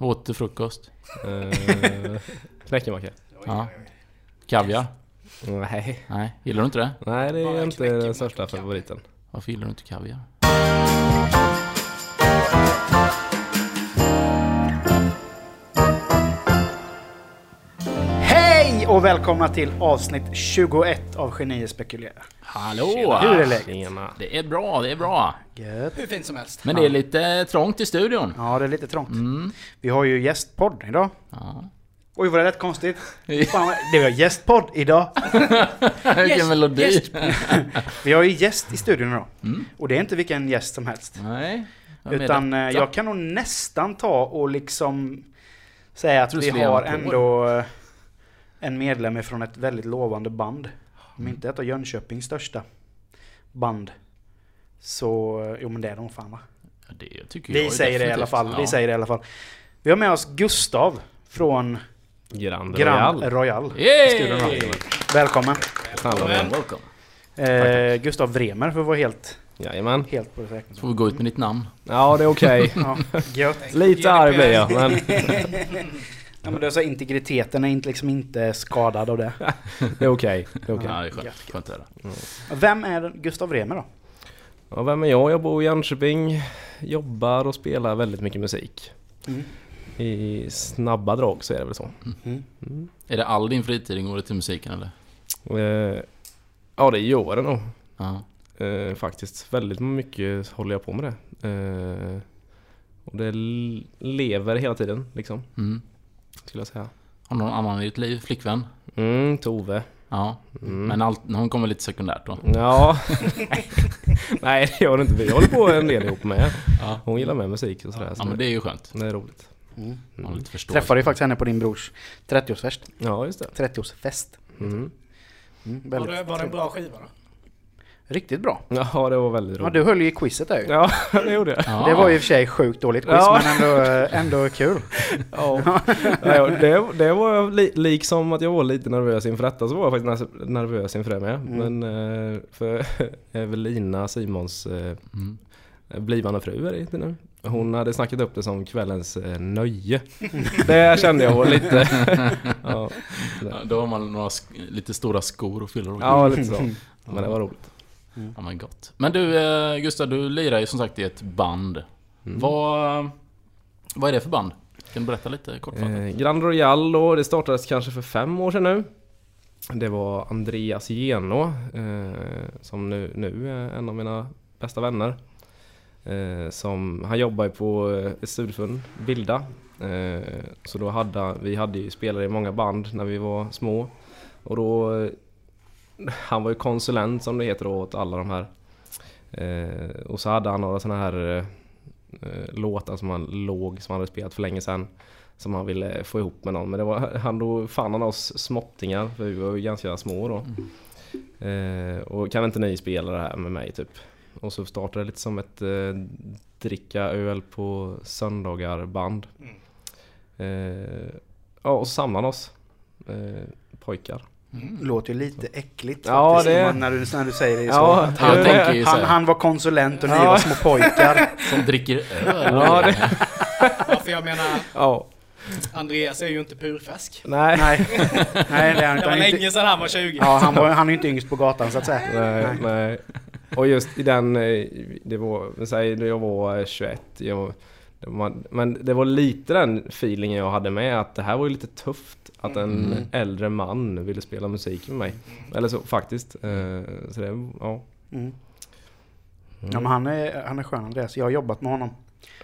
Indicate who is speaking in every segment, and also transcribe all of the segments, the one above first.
Speaker 1: Åt till frukost?
Speaker 2: Eh, Knäckemacka.
Speaker 1: Ja. Kaviar?
Speaker 2: Nej.
Speaker 1: Nej, gillar du inte det?
Speaker 2: Nej, det
Speaker 3: Bara
Speaker 2: är inte den största favoriten.
Speaker 1: Varför gillar du inte kaviar?
Speaker 3: Hej och välkomna till avsnitt 21 av Genier spekulerar.
Speaker 1: Hallå!
Speaker 3: Hur är läget?
Speaker 2: Tjena.
Speaker 1: Det är bra, det är bra.
Speaker 3: Gött.
Speaker 4: Hur fint som helst.
Speaker 1: Men det är lite trångt i studion.
Speaker 3: Ja, det är lite trångt. Vi har ju gästpodd idag.
Speaker 1: Ja.
Speaker 3: Oj, var det rätt konstigt? Fan, vad- det var gästpodd idag.
Speaker 1: Vilken
Speaker 4: Yes,
Speaker 1: melodi!
Speaker 4: yes.
Speaker 3: Vi har ju gäst i studion idag. Och det är inte vilken gäst som helst.
Speaker 1: Nej. vad är
Speaker 3: Utan eh,
Speaker 1: detta?
Speaker 3: jag kan nog nästan ta och liksom säga att
Speaker 1: tror
Speaker 3: vi
Speaker 1: du skulle
Speaker 3: har
Speaker 1: ge en applåd.
Speaker 3: ändå eh, en medlem från ett väldigt lovande band. Om inte ett av Jönköpings största band. Så, eh, jo men det är de fan va?
Speaker 1: Ja, det tycker jag
Speaker 3: Vi
Speaker 1: ju
Speaker 3: säger det i alla
Speaker 1: definitivt.
Speaker 3: fall.
Speaker 1: Ja.
Speaker 3: Vi säger det i alla fall. Vi har med oss Gustav från
Speaker 2: Grand
Speaker 3: Grand
Speaker 2: Royal.
Speaker 3: Royal.
Speaker 1: Yay!
Speaker 3: Välkommen!
Speaker 2: Välkommen.
Speaker 1: Welcome.
Speaker 3: Eh, Gustav Vremer för att vara helt,
Speaker 2: Jajamän.
Speaker 3: helt på det säkra.
Speaker 1: Får vi gå ut med ditt namn?
Speaker 2: Ja, det är okej.
Speaker 3: Ja, gött.
Speaker 2: Lite arg blir jag, men...
Speaker 3: Ja, men det är så här, integriteten är inte, liksom inte skadad av det.
Speaker 2: Det är okej. Det är okej.
Speaker 1: Ja, det är skönt. Skönt att höra.
Speaker 3: Vem är Gustav Vremer då?
Speaker 2: Ja, vem är jag? Jag bor i Jönköping, jobbar och spelar väldigt mycket musik.
Speaker 3: Mm.
Speaker 2: I snabba drag så är det väl så.
Speaker 1: Är det all din fritid går det till musiken eller?
Speaker 2: Eh, Ja, det gör det nog
Speaker 1: Ja.
Speaker 2: eh, faktiskt. Väldigt mycket håller jag på med det. Eh, Och det l- lever hela tiden, liksom,
Speaker 1: Mm.
Speaker 2: skulle jag säga.
Speaker 1: Har någon annan i ditt liv? Flickvän?
Speaker 2: Mm, Tove.
Speaker 1: Ja.
Speaker 3: Mm.
Speaker 1: Men allt, hon kommer lite sekundärt då?
Speaker 2: Ja. Nej, det gör det inte. Vi håller på en del ihop med.
Speaker 1: Ja.
Speaker 2: Hon gillar med musik och sådär.
Speaker 1: Ja
Speaker 2: Så
Speaker 1: men det är ju skönt.
Speaker 2: det är roligt.
Speaker 1: Man har lite förståelse.
Speaker 3: Träffade ju faktiskt henne på din brors 30-årsfest.
Speaker 2: Ja, just det.
Speaker 3: 30-årsfest.
Speaker 2: Mm.
Speaker 3: Mm,
Speaker 4: Var
Speaker 3: väldigt
Speaker 4: det, var det en bra skiva då?
Speaker 3: Riktigt bra.
Speaker 2: Ja, det var väldigt
Speaker 3: Ja,
Speaker 2: roligt.
Speaker 3: du höll ju i quizet där ju.
Speaker 2: Ja, det gjorde jag.
Speaker 1: Ja.
Speaker 3: Det var ju i och för sig sjukt dåligt quiz
Speaker 2: Ja.
Speaker 3: men ändå, ändå kul.
Speaker 2: Ja. Ja, det, det var jag li, liksom att jag var lite nervös inför detta så var jag faktiskt nas- nervös inför det med.
Speaker 3: Mm.
Speaker 2: Men eh, för Evelina Simons eh,
Speaker 1: Mm.
Speaker 2: blivande fru är det inte nu. Hon hade snackat upp det som kvällens eh, nöje. Det kände jag var lite. ja,
Speaker 1: Ja, Då har man några sk- lite stora skor och fyller och
Speaker 2: ja, lite så. Men det var roligt.
Speaker 1: Ja men gott. Men du eh, Gustav, du lirar ju som sagt i ett band.
Speaker 2: Mm.
Speaker 1: Vad, vad är det för band? Kan du berätta lite kortfattat?
Speaker 2: Eh, Grand Royal då, det startades kanske för fem år sedan nu. Det var Andreas Geno eh, som nu, nu är en av mina bästa vänner. Eh, som, han jobbar ju på eh, ett studieförbund, Bilda. Eh, så då hade vi hade ju spelare i många band när vi var små. Och då, eh, han var ju konsulent som det heter då åt alla de här. Eh, och så hade han några sådana här eh, eh, låtar som han låg, som han hade spelat för länge sedan som han ville få ihop med någon. Men det var, han då fann han oss småttingar, för vi var ju ganska små då. Eh, och kan inte ni spela det här med mig typ? Och så startade det lite som ett eh, dricka öl på söndagar band. Eh, ja, och så samlade han oss. Eh, pojkar.
Speaker 3: Låter ju lite äckligt
Speaker 2: Ja,
Speaker 3: faktiskt,
Speaker 2: det-
Speaker 3: när man- när, du, när du säger det så.
Speaker 2: Ja,
Speaker 3: Att
Speaker 1: jag
Speaker 3: han,
Speaker 1: tänker ju så
Speaker 3: han,
Speaker 1: här,
Speaker 3: han var konsulent och ni var små pojkar.
Speaker 1: som dricker öl.
Speaker 2: Ja, det,
Speaker 4: Ja, för jag menar,
Speaker 2: ja.
Speaker 4: Andreas är ju inte purfärsk.
Speaker 2: Nej.
Speaker 3: Nej, nej det är han
Speaker 4: Det
Speaker 3: inte.
Speaker 4: var
Speaker 3: Han är inte
Speaker 4: länge sedan han var 20.
Speaker 3: ja, han, var, han är ju inte yngst på gatan så att säga.
Speaker 2: Nej,
Speaker 3: Mm.
Speaker 2: nej. Och just i den, eh, det var, men säg när jag var eh, 21, jag, det var, men det var lite den feelingen jag hade med att det här var ju lite tufft att
Speaker 4: Mm.
Speaker 2: en äldre man ville spela musik med mig. Eller så faktiskt. eh, Så det, ja.
Speaker 3: Mm. Ja, men han, är, han är skön Andreas. Jag har jobbat med honom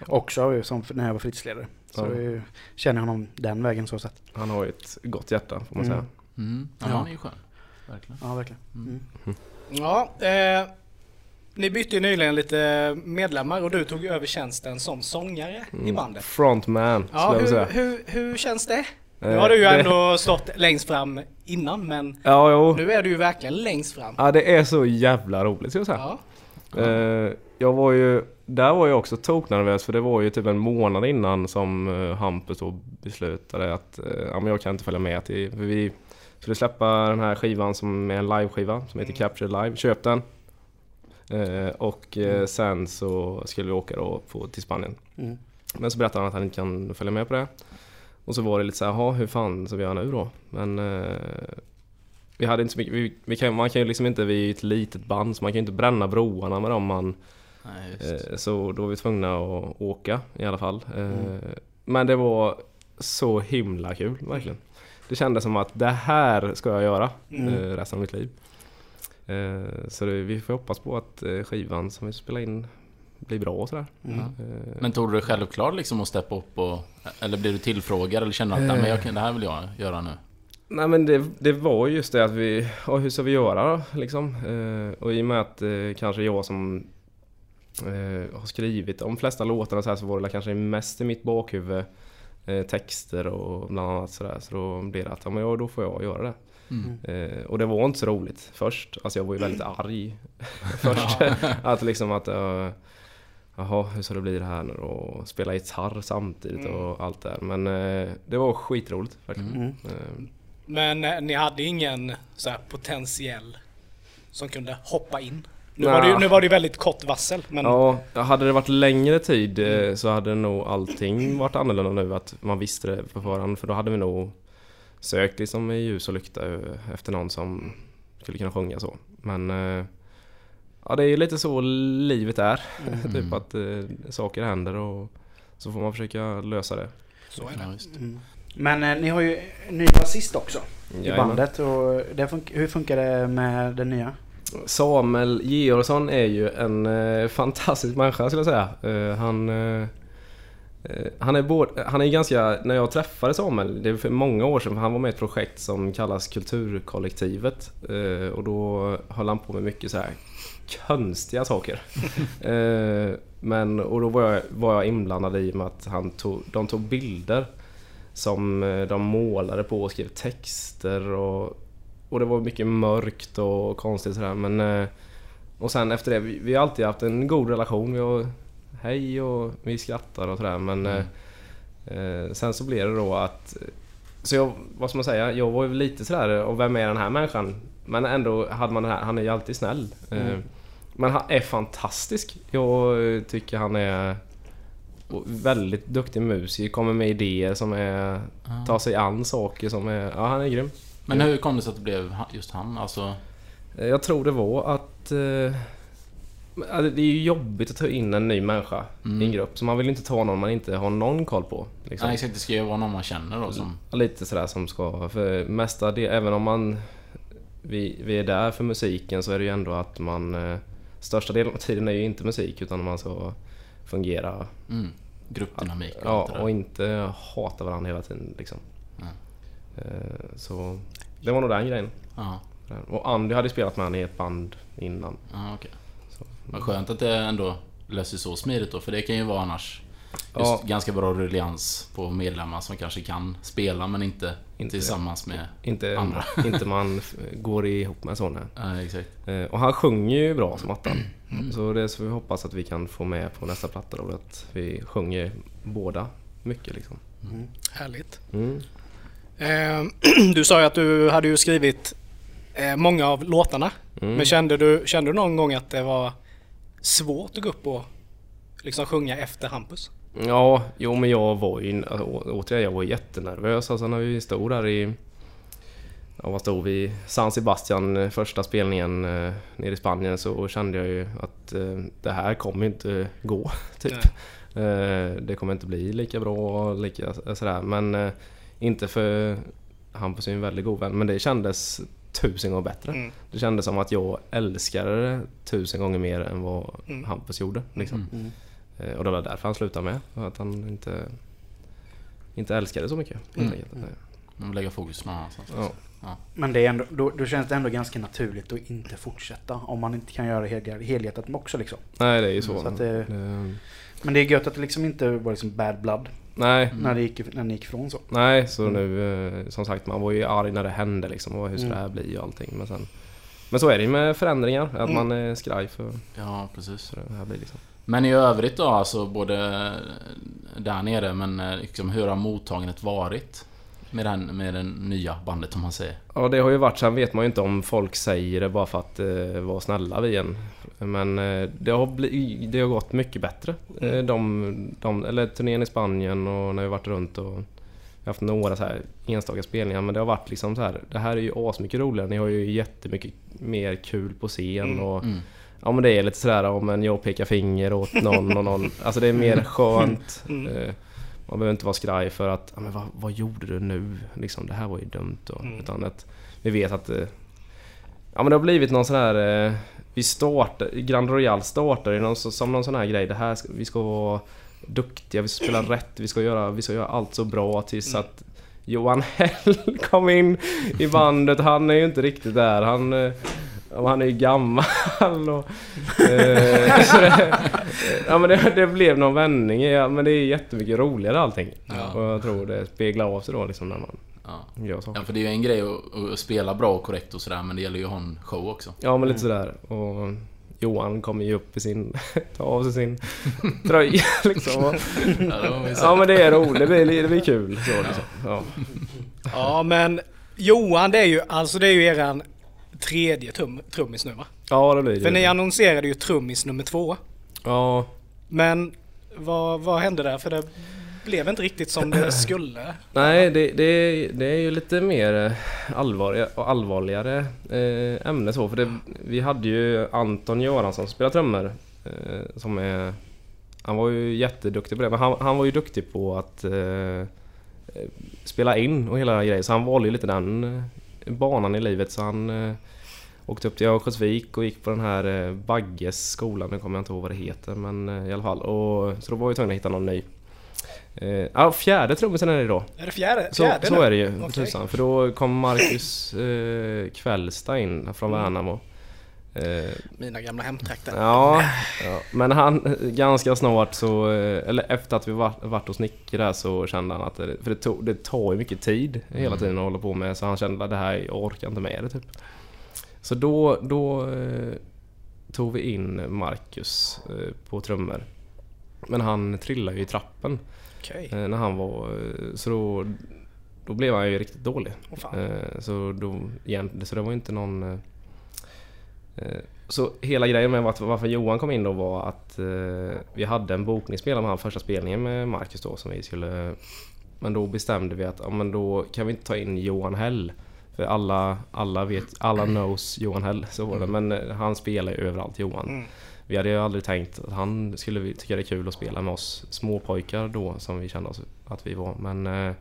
Speaker 3: också ju, som, när jag var fritidsledare. Så
Speaker 2: Ja.
Speaker 3: jag känner honom den vägen så sett.
Speaker 2: Han har ju ett gott hjärta får man
Speaker 3: Mm.
Speaker 2: säga.
Speaker 1: Mm. Ja,
Speaker 3: Ja.
Speaker 1: han är ju skön. Verkligen.
Speaker 3: Ja, verkligen. Mm.
Speaker 4: Ja, eh, ni bytte ju nyligen lite medlemmar och du tog över tjänsten som sångare Mm. i
Speaker 2: Mm.
Speaker 4: bandet.
Speaker 2: Frontman
Speaker 4: Ja,
Speaker 2: skulle jag
Speaker 4: hur,
Speaker 2: säga.
Speaker 4: hur, hur känns det? Nu
Speaker 2: Eh,
Speaker 4: har du ju
Speaker 2: det-
Speaker 4: ändå stått längst fram innan men
Speaker 2: Ja, jo.
Speaker 4: nu är du ju verkligen längst fram.
Speaker 2: Ja, det är så jävla roligt ska jag säga.
Speaker 4: Ja.
Speaker 2: Eh, jag var ju, där var jag också toknervös för det var ju typ en månad innan som eh, Hampus då beslutade att eh, ja, men jag kan inte följa med till, för vi skulle släppa den här skivan som är en liveskiva som heter Capture Live, köp den. Eh, och eh, sen så skulle vi åka då på, till Spanien.
Speaker 3: Mm.
Speaker 2: Men så berättade han att han inte kan följa med på det. Och så var det lite så här, "Jaha, hur fan ska vi göra nu då? Men eh, vi hade inte så mycket, vi, vi kan, man kan ju liksom inte, vi är ju ett litet band så man kan ju inte bränna broarna med dem man
Speaker 1: Nej, just.
Speaker 2: Eh, Så då var vi tvungna att åka i alla fall. Eh, Men det var så himla kul verkligen. Det kändes som att det här ska jag göra eh, resten av mitt liv. Eh, Så det, vi får hoppas på att eh, skivan som vi spelar in blir bra och sådär. Eh,
Speaker 1: Men tog du det självklart liksom att steppa upp och... Eller blev du tillfrågad eller kände du att Nej, men jag, kan- det här vill jag göra nu?
Speaker 2: Nej men det, det var just det att vi, ja, hur ska vi göra då liksom? Eh, och i och med att eh, kanske jag som eh, har skrivit de flesta låtarna så, här, så var det kanske mest i mitt bakhuvud eh, texter och bland annat sådär. Så då blev det att, ja men ja, då får jag göra det. Eh, och det var inte så roligt först. Alltså jag var ju väldigt arg först. att liksom att, eh, jaha hur ska det bli det här nu då? Och spela gitarr samtidigt och allt det där. Men eh, det var skitroligt verkligen. Eh,
Speaker 4: Men eh, ni hade ingen så här, potentiell som kunde hoppa in? Nu
Speaker 2: Nja.
Speaker 4: var, det ju, nu var det ju väldigt kort varsel men
Speaker 2: Ja, hade det varit längre tid eh, så hade nog allting varit annorlunda nu att man visste det på förhand för då hade vi nog sökt liksom i ljus och lykta eh, efter någon som skulle kunna sjunga så. Men eh, ja, det är ju lite så livet är. typ att eh, saker händer och så får man försöka lösa det.
Speaker 4: så är det.
Speaker 1: Ja, just.
Speaker 3: Men eh, ni har ju en ny basist också i
Speaker 2: Jajamän.
Speaker 3: bandet. Och det fun- hur funkar det med den nya?
Speaker 2: Samuel Georgsson är ju en eh, fantastisk människa skulle jag säga. Eh, han, eh, eh, han är både, han är ganska, när jag träffade Samuel, det är för många år sedan, för han var med i ett projekt som kallas Kulturkollektivet. Eh, och då höll han på med mycket så här konstiga saker. eh, men, och då var jag, var jag inblandad i och med att han tog, de tog bilder som eh, de målade på och skrev texter och, och det var mycket mörkt och konstigt sådär men eh, Och sen efter det, vi, vi har alltid haft en god relation, vi har hej och vi skrattar och sådär men eh, eh, Sen så blev det då att eh, Så jag, vad ska man säga, jag var ju lite sådär och vem är den här människan? Men ändå hade man den här, han är ju alltid snäll eh, Men han är fantastisk, jag eh, tycker han är och väldigt duktig musiker, kommer med idéer som är... Tar sig an saker som är... Ja, han är grym.
Speaker 1: Men hur kom det sig att det blev ha- just han? Alltså...
Speaker 2: Eh, Jag tror det var att... Eh, ja, det det är ju jobbigt att ta in en ny människa i en grupp. Så man vill ju inte ta någon man inte har någon koll på. Liksom.
Speaker 1: Mm. Nej, exakt. Det ska ju vara någon man känner då som...
Speaker 2: Lite sådär som ska... För mesta del, även om man... Vi, vi är där för musiken så är det ju ändå att man... Eh, största delen av tiden är ju inte musik utan man ska fungera
Speaker 1: Mm, gruppdynamik och allt det Mm.
Speaker 2: Ja,
Speaker 1: där.
Speaker 2: och inte hata varandra hela tiden liksom. Eh, Så det var nog den grejen.
Speaker 1: Ja,
Speaker 2: Och Andy hade ju spelat med han i ett band innan.
Speaker 1: ja okej. Vad skönt att det ändå löser så smidigt då, för det kan ju vara annars just
Speaker 2: Ja.
Speaker 1: ganska bra ruljans på medlemmar som kanske kan spela men inte,
Speaker 2: Inte-
Speaker 1: tillsammans med...
Speaker 2: Inte,
Speaker 1: Andra.
Speaker 2: inte man f- går ihop med sådana.
Speaker 1: Ja, exakt.
Speaker 2: Eh, Och han sjunger ju bra som attan. Så det så vi hoppas att vi kan få med på nästa platta då, att vi sjunger båda mycket liksom.
Speaker 4: Härligt.
Speaker 2: Mm.
Speaker 4: Eh, Du sa ju att du hade ju skrivit eh, många av låtarna.
Speaker 2: Mm.
Speaker 4: Men kände du, kände du någon gång att det var svårt att gå upp och liksom sjunga efter Hampus?
Speaker 2: Ja, jo men jag var ju, alltså, å- återigen jag var jättenervös alltså när vi stod där i, ja vad stod vi, San Sebastian eh, första spelningen eh, nere i Spanien så kände jag ju att eh, det här kommer ju inte gå typ. Eh, det kommer inte bli lika bra och lika eh, sådär men eh, inte för Hampus är ju en väldigt god vän men det kändes tusen gånger bättre.
Speaker 4: Mm.
Speaker 2: Det kändes som att jag älskade det tusen gånger mer än vad Hampus gjorde. Liksom. Eh, Och det var därför han slutade med. För att han inte, inte älskade så mycket. helt
Speaker 3: Mm.
Speaker 2: enkelt.
Speaker 1: Man vill lägga fokus någon annanstans.
Speaker 2: Ja.
Speaker 3: Men det är ändå, då, då känns det ändå ganska naturligt att inte fortsätta. Om man inte kan göra det helhjär- helhjärtat också liksom.
Speaker 2: Nej, det är ju så. eh,
Speaker 3: Så att det-
Speaker 2: Det-
Speaker 3: Men det är gött att det liksom inte var liksom bad blood
Speaker 2: Nej,
Speaker 1: Mm.
Speaker 3: när, det gick, när ni gick ifrån så.
Speaker 2: nej, så nu eh, som sagt man var ju arg när det hände liksom. Och hur ska
Speaker 3: Mm.
Speaker 2: det här bli och allting. Men, sen, men så är det ju med förändringar. Att
Speaker 3: Mm.
Speaker 2: man är skraj för
Speaker 1: Ja, precis.
Speaker 2: hur det här blir liksom.
Speaker 1: Men i övrigt då, alltså både där nere, men eh, liksom, hur har mottagandet varit? med, den, med den nya bandet om man säger.
Speaker 2: Ja, det har ju varit sen vet man ju inte om folk säger det bara för att eh, vara snälla vid en. Men eh, det, har bli, det har gått mycket bättre. Eh, de, de, eller turnén i Spanien och när vi varit runt och vi har haft några så här enstaka spelningar men det har varit liksom så här. Det här är ju asmycket roligare. Ni har ju jättemycket mer kul på scen och
Speaker 1: Mm.
Speaker 2: Ja men det är lite sådär om en jag pekar finger åt någon och någon. Alltså det är mer skönt.
Speaker 4: Mm.
Speaker 2: Eh, Man behöver inte vara skraj för att, ja, men vad, vad gjorde du nu? Liksom, det här var ju dumt. Och,
Speaker 4: Mm.
Speaker 2: Utan att vi vet att eh, ja, men det har blivit någon sån här... eh, Vi startar, Grand Royal startar ju någon, så- som någon sån här grej. Det här, ska- vi ska vara duktiga, vi ska spela rätt, vi ska göra, vi ska göra allt så bra tills att Johan Hell kom in i bandet. Han är ju inte riktigt där. Han, eh, ja, han är ju gammal och... eh, så det, ja, men det, det blev någon vändning. Ja, men det är jättemycket roligare allting.
Speaker 1: Ja.
Speaker 2: Och jag tror det speglar av sig då liksom när man
Speaker 1: Ja.
Speaker 2: gör saker.
Speaker 1: ja, för det är ju en grej att, att spela bra och korrekt och sådär men det gäller ju att ha en show också.
Speaker 2: Ja men lite
Speaker 4: Mm.
Speaker 2: sådär. Och Johan kommer ju upp i sin... Ta av sig sin tröja liksom. Och,
Speaker 1: Ja, det var ju så.
Speaker 2: ja men det är roligt, det blir, det blir kul. Så, liksom. ja.
Speaker 4: Ja men Johan det är ju, alltså det är ju eran tredje tum, trummis nu va?
Speaker 2: ja det blir det.
Speaker 4: För ni annonserade ju trummis nummer två.
Speaker 2: Ja,
Speaker 4: Men vad, vad hände där? För det blev inte riktigt som det skulle.
Speaker 2: nej det, det, det är ju lite mer eh, allvarliga, och allvarligare eh, ämne så. För det, vi hade ju Anton Göransson som spelar trummor. Eh, som är... Han var ju jätteduktig på det, men han, han var ju duktig på att eh, eh, spela in och hela grejen. Så han valde ju lite den eh, banan i livet. Så han eh, åkte upp till Örnsköldsvik och gick på den här eh, Bagges skolan, nu kommer jag inte ihåg vad det heter men eh, i alla fall. Och, så då var vi tvungna att hitta någon ny. Eh, ja, fjärde trummisen är det då.
Speaker 4: Är det fjärde?
Speaker 2: Så,
Speaker 4: fjärde
Speaker 2: så
Speaker 4: nu?
Speaker 2: är det ju, för
Speaker 4: Okej.
Speaker 2: tusan. För då kom Marcus eh, Kvällsta in från Värnamo. Eh,
Speaker 4: Mina gamla hemtrakter.
Speaker 2: Ja, ja, men han ganska snart så, eh, eller efter att vi var, varit hos Nicke där så kände han att det, för det, tog, det tar ju mycket tid hela tiden att hålla på med så han kände att det här, jag orkar inte med det typ. Så då, då eh, tog vi in Marcus eh, på trummor. Men han trillade ju i trappen
Speaker 4: Okej.
Speaker 2: eh, när han var, eh, så då, då blev han ju riktigt dålig.
Speaker 4: Åh, fan.
Speaker 2: Eh, Så, då, igen, så det var ju inte någon... eh, eh, Så hela grejen med varför, varför Johan kom in då var att eh, vi hade en bokningsspelare med han första spelningen med Marcus då som vi skulle... Men då bestämde vi att ja, men då kan vi inte ta in Johan Hell. För alla, alla vet, alla knows Johan Hell, så var det. Men eh, han spelar ju överallt Johan.
Speaker 4: Mm.
Speaker 2: Vi hade ju aldrig tänkt att han skulle vi- tycka det är kul att spela med oss småpojkar då som vi kände oss att vi var. Men, eh,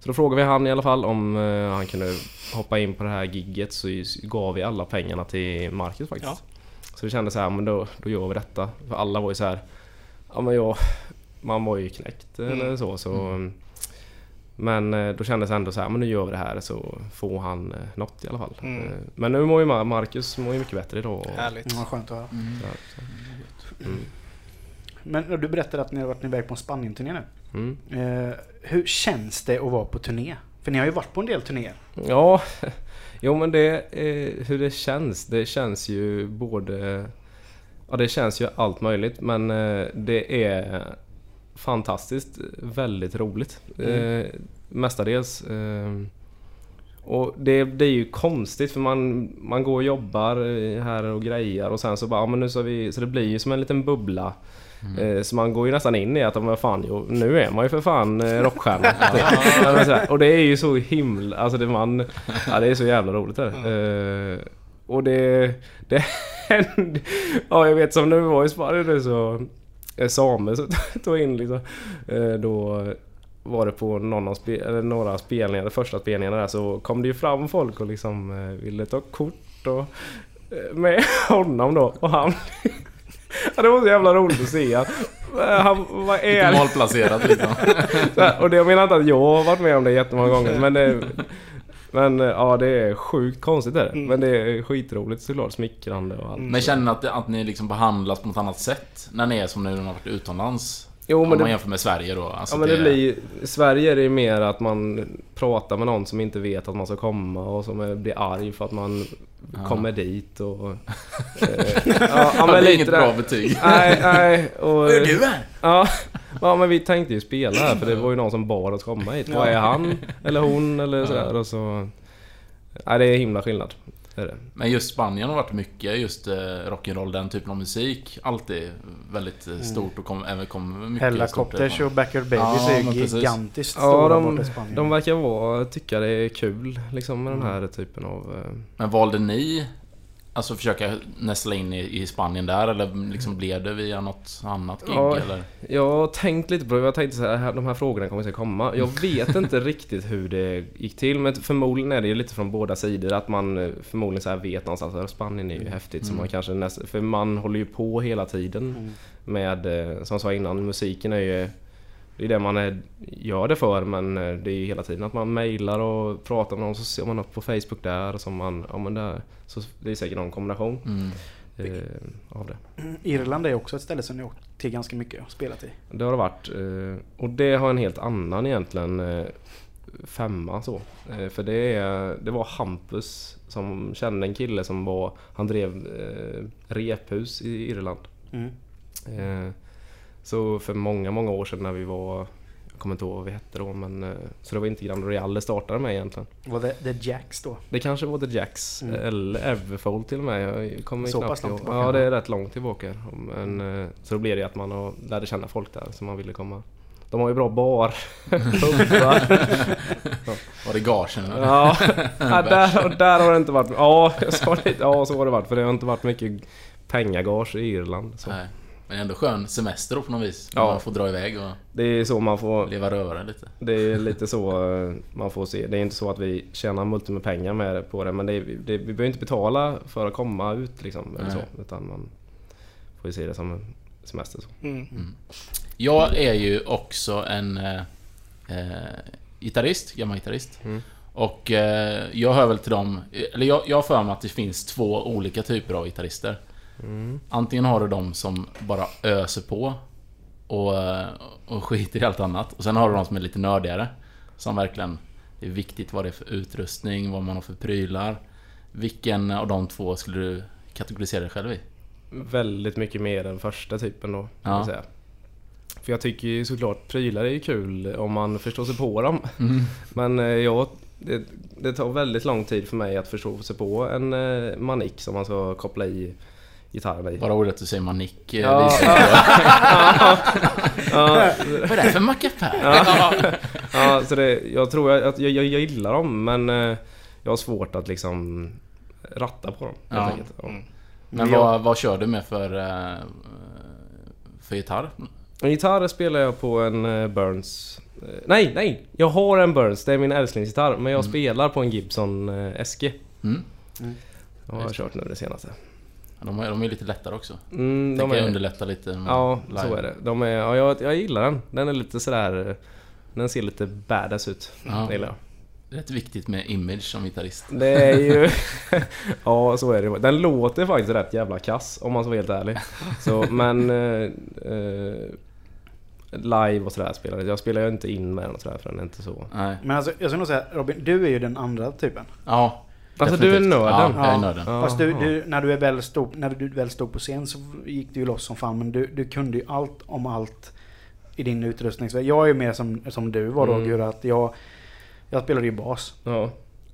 Speaker 2: så då frågade vi han i alla fall om eh, han kunde hoppa in på det här gigget så s- gav vi alla pengarna till Marcus faktiskt. Så vi kände så här, men då, då gör vi detta. För alla var ju så här, ja men jag, man var ju knäckt
Speaker 4: Mm.
Speaker 2: eller så. så Men eh, då kändes det ändå så här, men nu gör vi det här så får han eh, något i alla fall.
Speaker 4: Mm.
Speaker 2: Eh, Men nu mår ju Ma- Marcus mår ju mycket bättre idag. Och,
Speaker 4: Härligt.
Speaker 3: Ja, skönt att höra.
Speaker 1: Mm.
Speaker 3: Men du berättade att ni har varit iväg på en Spanien-turné nu.
Speaker 2: mm.
Speaker 3: Eh, hur känns det att vara på turné? För ni har ju varit på en del turnéer.
Speaker 2: Ja, jo men det, eh, hur det känns. Det känns ju både... Ja, det känns ju allt möjligt men eh, det är fantastiskt väldigt roligt.
Speaker 4: Mm.
Speaker 2: Eh, mestadels. Eh, och det, det är ju konstigt för man, man går och jobbar eh, här och grejer och sen så bara, ja, men nu så vi... Så det blir ju som en liten bubbla. Eh, Så man går ju nästan in i att, "Ja, men fan, jo, nu är man ju för fan eh, rockstjärna. Ja, men så här, och det är ju så himla... Alltså det, man, ja, det är så jävla roligt det där. Eh, Och det... det hände- ja, jag vet som när vi var i Spanien nu så... eh, Same så tog in liksom... eh, Då var det på någon av spe, eller några spelningar, de första spelningarna där så kom det ju fram folk och liksom eh, ville ta kort och... eh, Med honom då och han... Ja, det var så jävla roligt att se han. Eh, han vad är
Speaker 1: Lite
Speaker 2: det?
Speaker 1: malplacerat liksom.
Speaker 2: Så här, Och det, jag menar inte att jag har varit med om det jättemånga gånger men det, Men eh, ja det är sjukt konstigt är det. Men det är skitroligt såklart. Smickrande och allt.
Speaker 1: Men känner ni att, att ni liksom behandlas på något annat sätt när ni är som när ni har varit utomlands?
Speaker 2: Jo,
Speaker 1: Om
Speaker 2: men
Speaker 1: man
Speaker 2: det-
Speaker 1: jämför med Sverige då. Alltså
Speaker 2: Ja men det blir, i Sverige är det ju mer att man pratar med någon som inte vet att man ska komma och som är- blir arg för att man kommer dit och... eh, ja,
Speaker 1: Ja, men det är
Speaker 2: lite
Speaker 1: inget
Speaker 2: där.
Speaker 1: bra betyg.
Speaker 2: Nej, nej. Och,
Speaker 1: Hur är du här?
Speaker 2: Ja, Ja men vi tänkte ju spela här för det var ju någon som bad oss komma hit. Vad är han? Eller hon? Eller sådär. Och så... Nej det är himla skillnad. Det är det.
Speaker 1: Men just Spanien har varit mycket just eh, rock'n'roll, den typen av musik. Alltid väldigt eh, stort och kom, även kom mycket
Speaker 3: Helicopters
Speaker 1: stort.
Speaker 3: och Backyard Babies
Speaker 1: Ja,
Speaker 3: är ju
Speaker 1: men precis.
Speaker 3: gigantiskt
Speaker 2: Ja
Speaker 3: stora
Speaker 2: de,
Speaker 3: borta i Spanien.
Speaker 2: de verkar vara, tycka det är kul liksom med den här typen av... eh,
Speaker 1: Men valde ni Alltså försöka nästla in i, i Spanien där eller liksom blev det via något annat gig
Speaker 2: Ja.
Speaker 1: eller?
Speaker 2: Jag har tänkt lite på det. Jag tänkte så här, här, de här frågorna kommer säkert komma. Jag vet inte riktigt hur det gick till. Men förmodligen är det ju lite från båda sidor. Att man eh, förmodligen så här vet någonstans att Spanien är ju häftigt. Så man kanske näst, för man håller ju på hela tiden med, eh, som jag sa innan, musiken är ju det är det man är, gör det för men eh, det är ju hela tiden att man mejlar och pratar med någon så ser man upp på Facebook där och så man, ja men där. Så det är säkert någon kombination
Speaker 1: Mm.
Speaker 2: eh, av det.
Speaker 3: Irland är också ett ställe som ni åkt till ganska mycket och spelat i.
Speaker 2: Det har det varit. eh, Och det har en helt annan egentligen eh, femma så. Eh, För det, är, det var Hampus som kände en kille som var, han drev eh, rephus i Irland.
Speaker 3: Mm.
Speaker 2: Eh, Så för många, många år sedan när vi var, jag kommer inte ihåg vad vi hette då men eh, så det var inte Grand Royal det startade med egentligen.
Speaker 3: Var det, det Jacks då?
Speaker 2: Det kanske var The Jacks
Speaker 3: Mm.
Speaker 2: eller Everfold till och med. Jag kommer
Speaker 3: Så
Speaker 2: knappt
Speaker 3: pass långt
Speaker 2: ihåg.
Speaker 3: tillbaka.
Speaker 2: Ja, det är rätt långt tillbaka. Men, eh, så då blev det ju att man har- lärde känna folk där som man ville komma. De har ju bra bar. Pubar.
Speaker 1: Var det gagen eller?
Speaker 2: ja, ja där, och där har det inte varit. Ja, jag sa det. Ja, så har det varit. För det har inte varit mycket pengagage i Irland. Så.
Speaker 1: Nej. Men det är ändå skön semester då på något vis. När
Speaker 2: Ja.
Speaker 1: man får dra iväg och
Speaker 2: Det är så man får.
Speaker 1: leva rövare lite.
Speaker 2: Det är lite så eh, man får se. Det är inte så att vi tjänar multum med pengar med det, på det men det, är- det, vi behöver inte betala för att komma ut liksom. Eller
Speaker 1: Nej.
Speaker 2: så, utan man får ju se det som en semester. Så.
Speaker 4: Mm.
Speaker 1: Jag är ju också en eh, eh, gitarrist, gammal gitarrist.
Speaker 2: Mm.
Speaker 1: Och eh, jag hör väl till dem, eller jag, jag har för mig att det finns två olika typer av gitarrister.
Speaker 2: Mm.
Speaker 1: Antingen har du de som bara öser på och, eh, och skiter i allt annat. Och sen har du de som är lite nördigare. Som verkligen, det är viktigt vad det är för utrustning, vad man har för prylar. Vilken av de två skulle du kategorisera dig själv i?
Speaker 2: Väldigt mycket mer den första typen då. Kan
Speaker 1: Ja.
Speaker 2: man säga. För jag tycker ju såklart prylar är ju kul om man förstår sig på dem.
Speaker 1: Mm.
Speaker 2: Men eh, jag, det, det tar väldigt lång tid för mig att förstå sig på en eh, manik som man ska koppla i gitarren i.
Speaker 1: Bara ordet att du säger manick eh,
Speaker 2: Ja,
Speaker 1: visar
Speaker 2: Ja,
Speaker 1: Vad är det här för mackapär?
Speaker 2: Ja, så det, jag tror jag, att jag, jag, jag gillar dem men eh, jag har svårt att liksom ratta på dem helt
Speaker 1: Ja. Mm.
Speaker 2: enkelt. Ja.
Speaker 1: Men
Speaker 3: Ja.
Speaker 1: vad, vad kör du med för, eh, för gitarr?
Speaker 2: Och Gitarr spelar jag på en eh, Burns. Eh, Nej, nej! Jag har en Burns, det är min älsklingsgitarr. Men jag spelar på en Gibson eh, SG.
Speaker 1: Mm.
Speaker 2: Jag har jag kört nu det senaste.
Speaker 1: De, är- de är lite lättare också.
Speaker 2: Mm,
Speaker 1: Tänker
Speaker 2: är-
Speaker 1: jag underlätta lite med
Speaker 2: Ja,
Speaker 1: live.
Speaker 2: så är det. De är, ja, jag, jag gillar den. Den är lite sådär... eh, Den ser lite badass ut.
Speaker 1: Ja.
Speaker 2: Det gillar jag.
Speaker 1: Det är rätt viktigt med image som gitarrist.
Speaker 2: Det är ju... ja, så är det. Den låter faktiskt rätt jävla kass om man ska vara helt ärlig. Så, men... Eh, eh, live och sådär spelar jag. Jag spelar ju inte in med den och sådär för den är inte så...
Speaker 1: Nej.
Speaker 3: Men alltså, jag skulle nog säga Robin, du är ju den andra typen.
Speaker 1: Ja.
Speaker 2: Alltså,
Speaker 1: definitivt.
Speaker 2: du är nörden.
Speaker 1: Ja, jag är
Speaker 3: Ja.
Speaker 1: nörden.
Speaker 2: Jaha.
Speaker 3: Fast du, du, när, du är väl stod, när du väl stod på scen så gick du ju loss som fan. Men du, du kunde ju allt om allt i din utrustning. Så jag är ju mer som, som du var då
Speaker 2: Mm.
Speaker 3: Gurra. Att jag, jag spelade ju bas.
Speaker 2: Ja.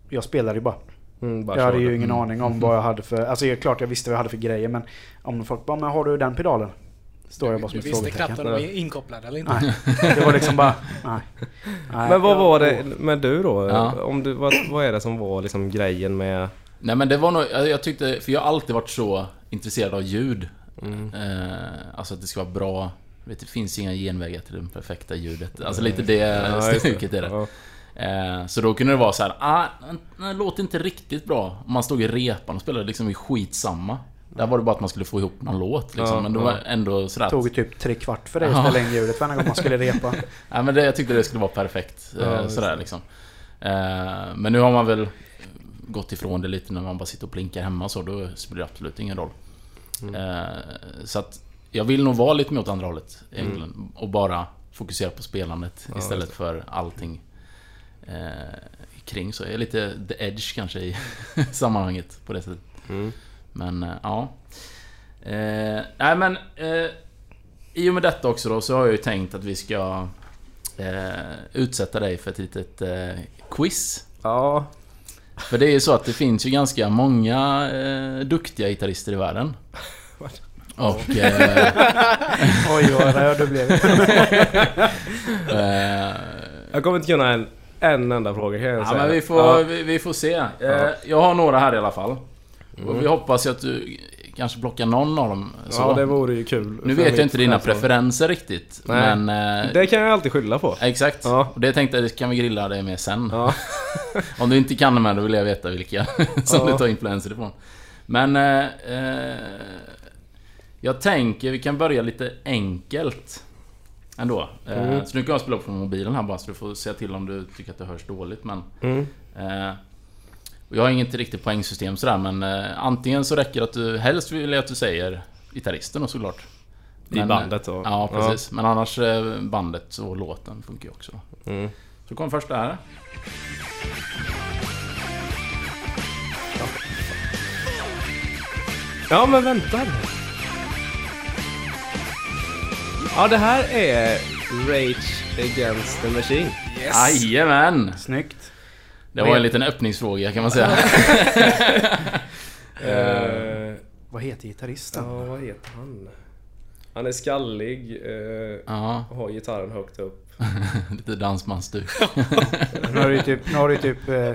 Speaker 3: Jag spelade ju bara.
Speaker 2: Mm, bara
Speaker 3: jag hade
Speaker 2: kör
Speaker 3: ju
Speaker 2: det.
Speaker 3: ingen aning om vad jag hade för... Alltså det är klart jag visste vad jag hade för grejer. Men om folk bara, men har du den pedalen? Står jag bara som
Speaker 4: Du
Speaker 3: ett
Speaker 4: visste knappt om
Speaker 3: frågetecken.
Speaker 4: de var inkopplade eller inte.
Speaker 3: Nej, det var liksom bara... Nej. nej.
Speaker 2: Men vad
Speaker 3: Jag-
Speaker 2: var det med du då?
Speaker 1: Ja.
Speaker 2: Om du, vad, vad är det som var liksom grejen med...
Speaker 1: Nej men det var nog, jag jag tyckte, för jag har alltid varit så intresserad av ljud.
Speaker 2: Mm.
Speaker 1: Eh, alltså att det ska vara bra. Vet, det finns inga genvägar till det perfekta ljudet. Alltså lite det
Speaker 2: Ja, just
Speaker 1: stuket är det.
Speaker 2: Ja.
Speaker 1: Eh, Så då kunde det vara så här, ah, den- den låter inte riktigt bra. Om Man stod i repan och spelade liksom i skitsamma. Där var det bara att man skulle få ihop någon låt liksom.
Speaker 2: Ja,
Speaker 1: men det
Speaker 2: ja.
Speaker 1: var ändå sådär.
Speaker 3: Det
Speaker 1: att-
Speaker 3: tog ju typ tre kvart för dig att ställa in ljudet varje gång man skulle repa.
Speaker 1: Nej, men det, jag tyckte det skulle vara perfekt. eh,
Speaker 2: Ja, just
Speaker 1: sådär liksom. Eh, Men nu har man väl gått ifrån det lite när man bara sitter och plinkar hemma och så. Då spelar det absolut ingen roll. Eh, Så att jag vill nog vara lite mer åt andra hållet egentligen. Och bara fokusera på spelandet istället för allting eh, kring. Så jag är lite the edge kanske i sammanhanget på det sättet. Men eh, ja. Eh, nej men... Eh, I och med detta också då så har jag ju tänkt att vi ska eh, utsätta dig för ett litet eh, quiz.
Speaker 2: Ja,
Speaker 1: För det är ju så att det finns ju ganska många eh, duktiga gitarrister i världen. Och... Eh,
Speaker 3: Oj, vad röd du blev.
Speaker 1: eh,
Speaker 2: jag kommer inte kunna en, en enda fråga kan jag
Speaker 1: Ja,
Speaker 2: säga.
Speaker 1: men vi får,
Speaker 2: Ja, Mm.
Speaker 1: vi, vi får se. Eh, Jag har några här i alla fall. Och vi hoppas ju att du kanske plockar någon av dem. Så.
Speaker 2: ja, det vore ju kul.
Speaker 1: nu
Speaker 2: för
Speaker 1: vet jag
Speaker 2: mitt
Speaker 1: inte dina
Speaker 2: nästa år.
Speaker 1: preferenser riktigt.
Speaker 2: Nej.
Speaker 1: Men... eh,
Speaker 2: Det kan jag alltid skylla på.
Speaker 1: Exakt.
Speaker 2: Ja.
Speaker 1: Och det tänkte jag, det kan vi grilla dig med sen.
Speaker 2: Ja.
Speaker 1: Om du inte kan de här, då vill jag veta vilka som
Speaker 2: Ja.
Speaker 1: du tar influenser ifrån. Men... Eh, eh, jag tänker vi kan börja lite enkelt. Ändå. Eh,
Speaker 2: Mm.
Speaker 1: Så nu kan jag spela upp från mobilen här bara, så du får säga till om du tycker att det hörs dåligt. Men...
Speaker 2: Mm.
Speaker 1: Eh, och jag har inget riktigt poängsystem sådär men eh, antingen så räcker det att du helst vill jag att du säger gitarristen och såklart. eh,
Speaker 2: I bandet då?
Speaker 1: Ja precis. Men annars eh, bandet och låten funkar ju också. Då.
Speaker 2: Mm.
Speaker 1: Så kom första här.
Speaker 2: Ja, men vänta. Ja, det här är Rage Against the Machine.
Speaker 4: Yes!
Speaker 1: Jajamän!
Speaker 3: Snyggt.
Speaker 1: Det var en liten öppningsfråga kan man säga.
Speaker 2: Eh,
Speaker 3: Vad heter gitarristen?
Speaker 2: ja, vad heter han? Han är skallig, eh,
Speaker 1: ja,
Speaker 2: har gitarren högt upp.
Speaker 1: lite dansbandsstuk.
Speaker 3: Nu har du ju typ, nu har du ju typ eh,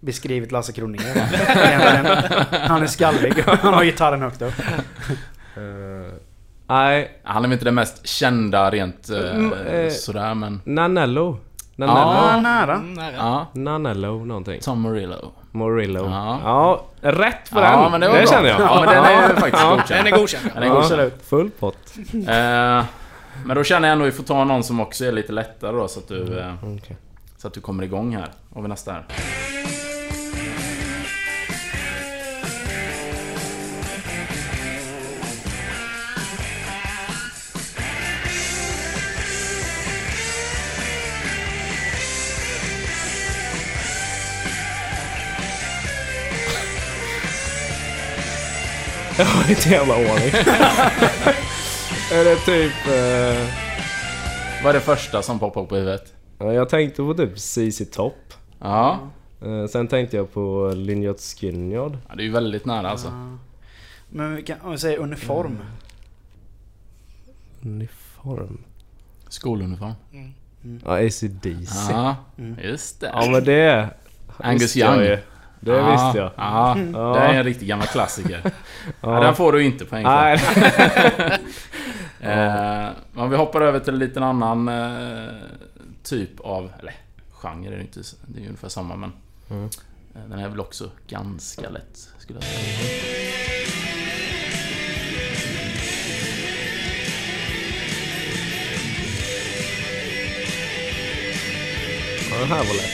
Speaker 3: beskrivit Lasse Kronér. Egentligen. Han är skallig och han har gitarren högt upp.
Speaker 2: Eh, Nej,
Speaker 1: Han är väl inte den mest kända rent eh,
Speaker 2: Mm, eh,
Speaker 1: sådär men...
Speaker 2: Nanello.
Speaker 1: Ja.
Speaker 2: Nanello.
Speaker 3: Ah, nära.
Speaker 4: Mm, nära.
Speaker 1: Ja,
Speaker 2: Nanello någonting.
Speaker 1: Tom Morello.
Speaker 2: Morillo.
Speaker 1: Ja.
Speaker 2: Ja, rätt på
Speaker 1: Ja,
Speaker 2: den.
Speaker 1: men det var bra.
Speaker 2: känner jag.
Speaker 1: Ja, den är ju faktiskt
Speaker 2: Ja.
Speaker 1: godkänd.
Speaker 4: Den är godkänd.
Speaker 1: Den är godkänd.
Speaker 3: Absolut.
Speaker 2: Full pott.
Speaker 1: Eh, men då känner jag ändå att vi får ta någon som också är lite lättare då så att du, eh,
Speaker 2: Okej.
Speaker 1: så att du kommer igång här. Har vi nästa här?
Speaker 2: Jag har inte jävla aning. är det typ... eh,
Speaker 1: Vad är det första som poppar upp i huvudet?
Speaker 2: ja, jag tänkte på typ CC Top.
Speaker 1: Ja,
Speaker 2: Eh, sen tänkte jag på Lynyrd Skynyrd.
Speaker 1: ja, det är ju väldigt nära alltså.
Speaker 3: Ja. Men vi kan om vi säger uniform.
Speaker 2: Uniform.
Speaker 1: Skoluniform.
Speaker 4: Mm.
Speaker 2: Ja, AC/DC.
Speaker 1: Ja,
Speaker 3: Mm.
Speaker 1: just det.
Speaker 2: Ja men det...
Speaker 1: Angus
Speaker 2: visste jag
Speaker 1: Young.
Speaker 2: ju. Det
Speaker 1: Ja,
Speaker 2: visste jag.
Speaker 1: Ja,
Speaker 2: Ja.
Speaker 1: det är en riktigt gammal klassiker. Ja. Den
Speaker 2: Ja.
Speaker 1: får du inte poäng för.
Speaker 2: Nej,
Speaker 1: Eh, Men vi hoppar över till en liten annan eh, typ av... Eller genre är det inte. Det är ju ungefär samma men...
Speaker 2: Mm.
Speaker 1: eh, Den är väl också ganska lätt skulle jag säga.
Speaker 2: Ja, den här var lätt.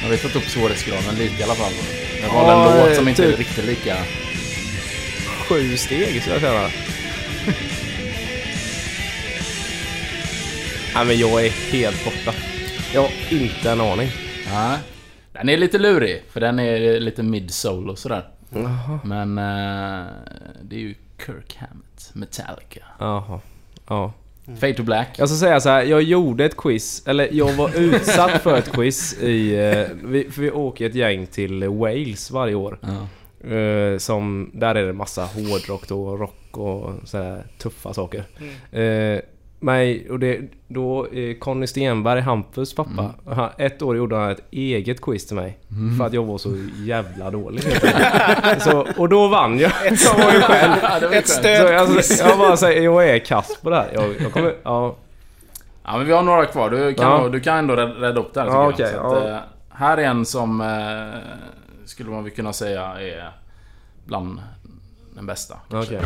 Speaker 1: Men vi har fått upp svårighetsgraden lite i alla fall. Jag valde en
Speaker 2: Ja,
Speaker 1: låt som inte
Speaker 2: typ.
Speaker 1: är riktigt lika...
Speaker 2: Sju steg så jag känna. Nej men jag är helt borta. Jag har inte en aning.
Speaker 1: Ja. Den är lite lurig, för den är lite mid-soul och sådär.
Speaker 2: Jaha.
Speaker 1: Men eh, det är ju Kirk Hammett, Metallica.
Speaker 2: Jaha. Ja.
Speaker 1: Fade to Black.
Speaker 2: Jag ska säga så här, jag gjorde ett quiz, eller jag var utsatt för ett quiz i... eh, Vi, för vi åker ett gäng till Wales varje år.
Speaker 1: Ja.
Speaker 2: Eh, som, där är det massa hårdrock då, och rock och sådär tuffa saker. Eh, men, och det, då eh, Conny Stenberg, Hampus pappa, han, ett år gjorde han ett eget quiz till mig. För att jag var så jävla dålig. så, och då vann jag. Jag var ju själv.
Speaker 4: Ett
Speaker 2: Så jag, alltså,
Speaker 4: stödquiz.
Speaker 2: jag bara säger, jag är kass på det här. Jag, jag kommer, ja,
Speaker 1: Ja men vi har några kvar. Du kan,
Speaker 2: Ja.
Speaker 1: du kan ändå räd- rädda upp det här
Speaker 2: Ja,
Speaker 1: tycker jag.
Speaker 2: okej,
Speaker 1: Så att,
Speaker 2: ja.
Speaker 1: eh, Här är en som eh, skulle man väl kunna säga är bland den bästa.
Speaker 2: okej.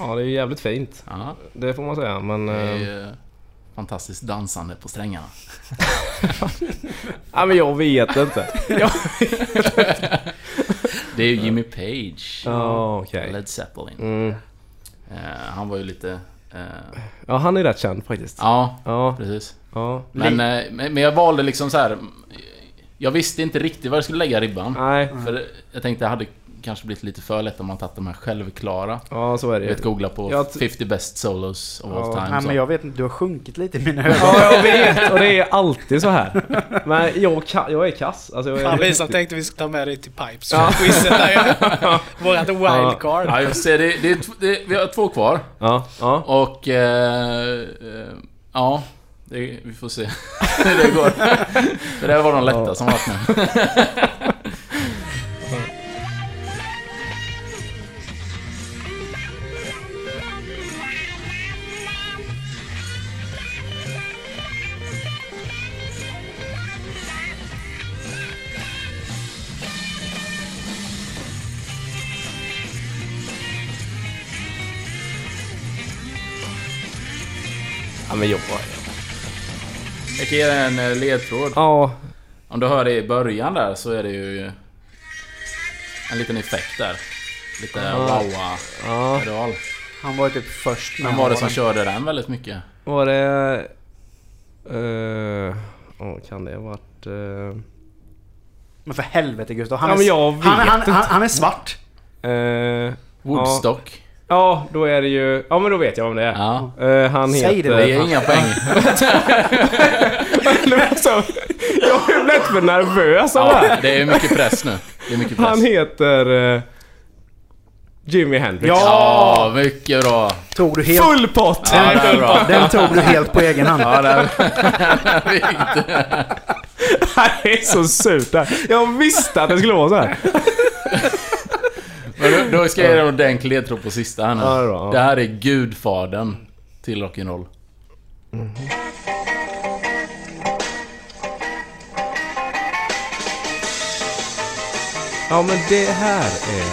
Speaker 2: Ja, det är ju jävligt fint.
Speaker 1: Ja,
Speaker 2: Det får man säga, men...
Speaker 1: det är
Speaker 2: eh,
Speaker 1: ju fantastiskt dansande på strängarna.
Speaker 2: Ja, men jag vet inte. Jag vet inte.
Speaker 1: Det är ju Jimmy Page.
Speaker 2: Ja, okej.
Speaker 1: Led Zeppelin.
Speaker 2: Mm.
Speaker 1: Eh, han var ju lite... eh,
Speaker 2: Ja, han är rätt känd faktiskt.
Speaker 1: ja,
Speaker 2: Ja,
Speaker 1: precis.
Speaker 2: ja.
Speaker 1: Men, eh, men men jag valde liksom så här. Jag visste inte riktigt var jag skulle lägga ribban.
Speaker 2: Nej.
Speaker 1: För jag tänkte det hade kanske blivit lite för lätt om man tagit de här självklara.
Speaker 2: Ja, så är det
Speaker 1: Jag
Speaker 2: ju.
Speaker 1: vet googla på
Speaker 2: Jag t-
Speaker 1: 50 best solos of
Speaker 2: Ja.
Speaker 1: all time.
Speaker 3: Nej
Speaker 1: så.
Speaker 3: men jag vet inte, du har sjunkit lite i mina ögon.
Speaker 2: Ja, jag vet! Och det är alltid så här. Men jag, ka- jag är kass. Alltså, jag
Speaker 4: Fan
Speaker 2: är...
Speaker 4: Lisa, tänkte vi skulle ta med dig till Pipes. Quizet där ju. Vårat wildcard.
Speaker 1: Ja, jag får se, det, det, är tv- det, vi har två kvar.
Speaker 2: Ja, ja.
Speaker 1: Och... Eh, eh, ja. Det, vi får se hur det går. För det här var de lätta som varit med.
Speaker 2: Ja, men jag...
Speaker 1: Jag kan ge dig en eh, ledtråd.
Speaker 2: Ja,
Speaker 1: Om du hör det i början där så är det ju... En liten effekt där. Lite wow-a-roll.
Speaker 2: ja.
Speaker 3: Han var ju typ först med
Speaker 1: Vem var det som
Speaker 3: haren.
Speaker 1: körde den väldigt mycket?
Speaker 2: Var det... eh, åh, kan det ha varit... eh,
Speaker 3: Men för helvete Gustav. Han,
Speaker 2: Ja,
Speaker 3: är,
Speaker 2: men jag vet
Speaker 3: han, han, han, han är svart.
Speaker 2: eh,
Speaker 1: Woodstock?
Speaker 2: ja, då är det ju... Ja, men då vet jag vem det är.
Speaker 1: Ja.
Speaker 2: Eh, han
Speaker 3: Säg
Speaker 2: heter...
Speaker 3: det,
Speaker 1: Det är inga poäng.
Speaker 2: Det var så- alltså, jag blev lätt för nervös av det här.
Speaker 1: Ja, det är mycket press nu. Det är mycket press.
Speaker 2: Han heter... eh, Jimi Hendrix.
Speaker 1: Ja,
Speaker 2: Ah.
Speaker 1: mycket bra.
Speaker 3: Tog du helt...
Speaker 2: Full pott!
Speaker 1: Ja, det är bra.
Speaker 3: Den tog du helt på egen hand.
Speaker 1: Ja, där. Viktigt.
Speaker 2: Det är så surt det här. Jag visste att det skulle vara så här.
Speaker 1: Men då, då ska jag ge dig en ordentlig ledtråd på sista här nu.
Speaker 2: Ja, det är bra.
Speaker 1: Det här är gudfadern till rock'n'roll.
Speaker 2: Ja, men det här är...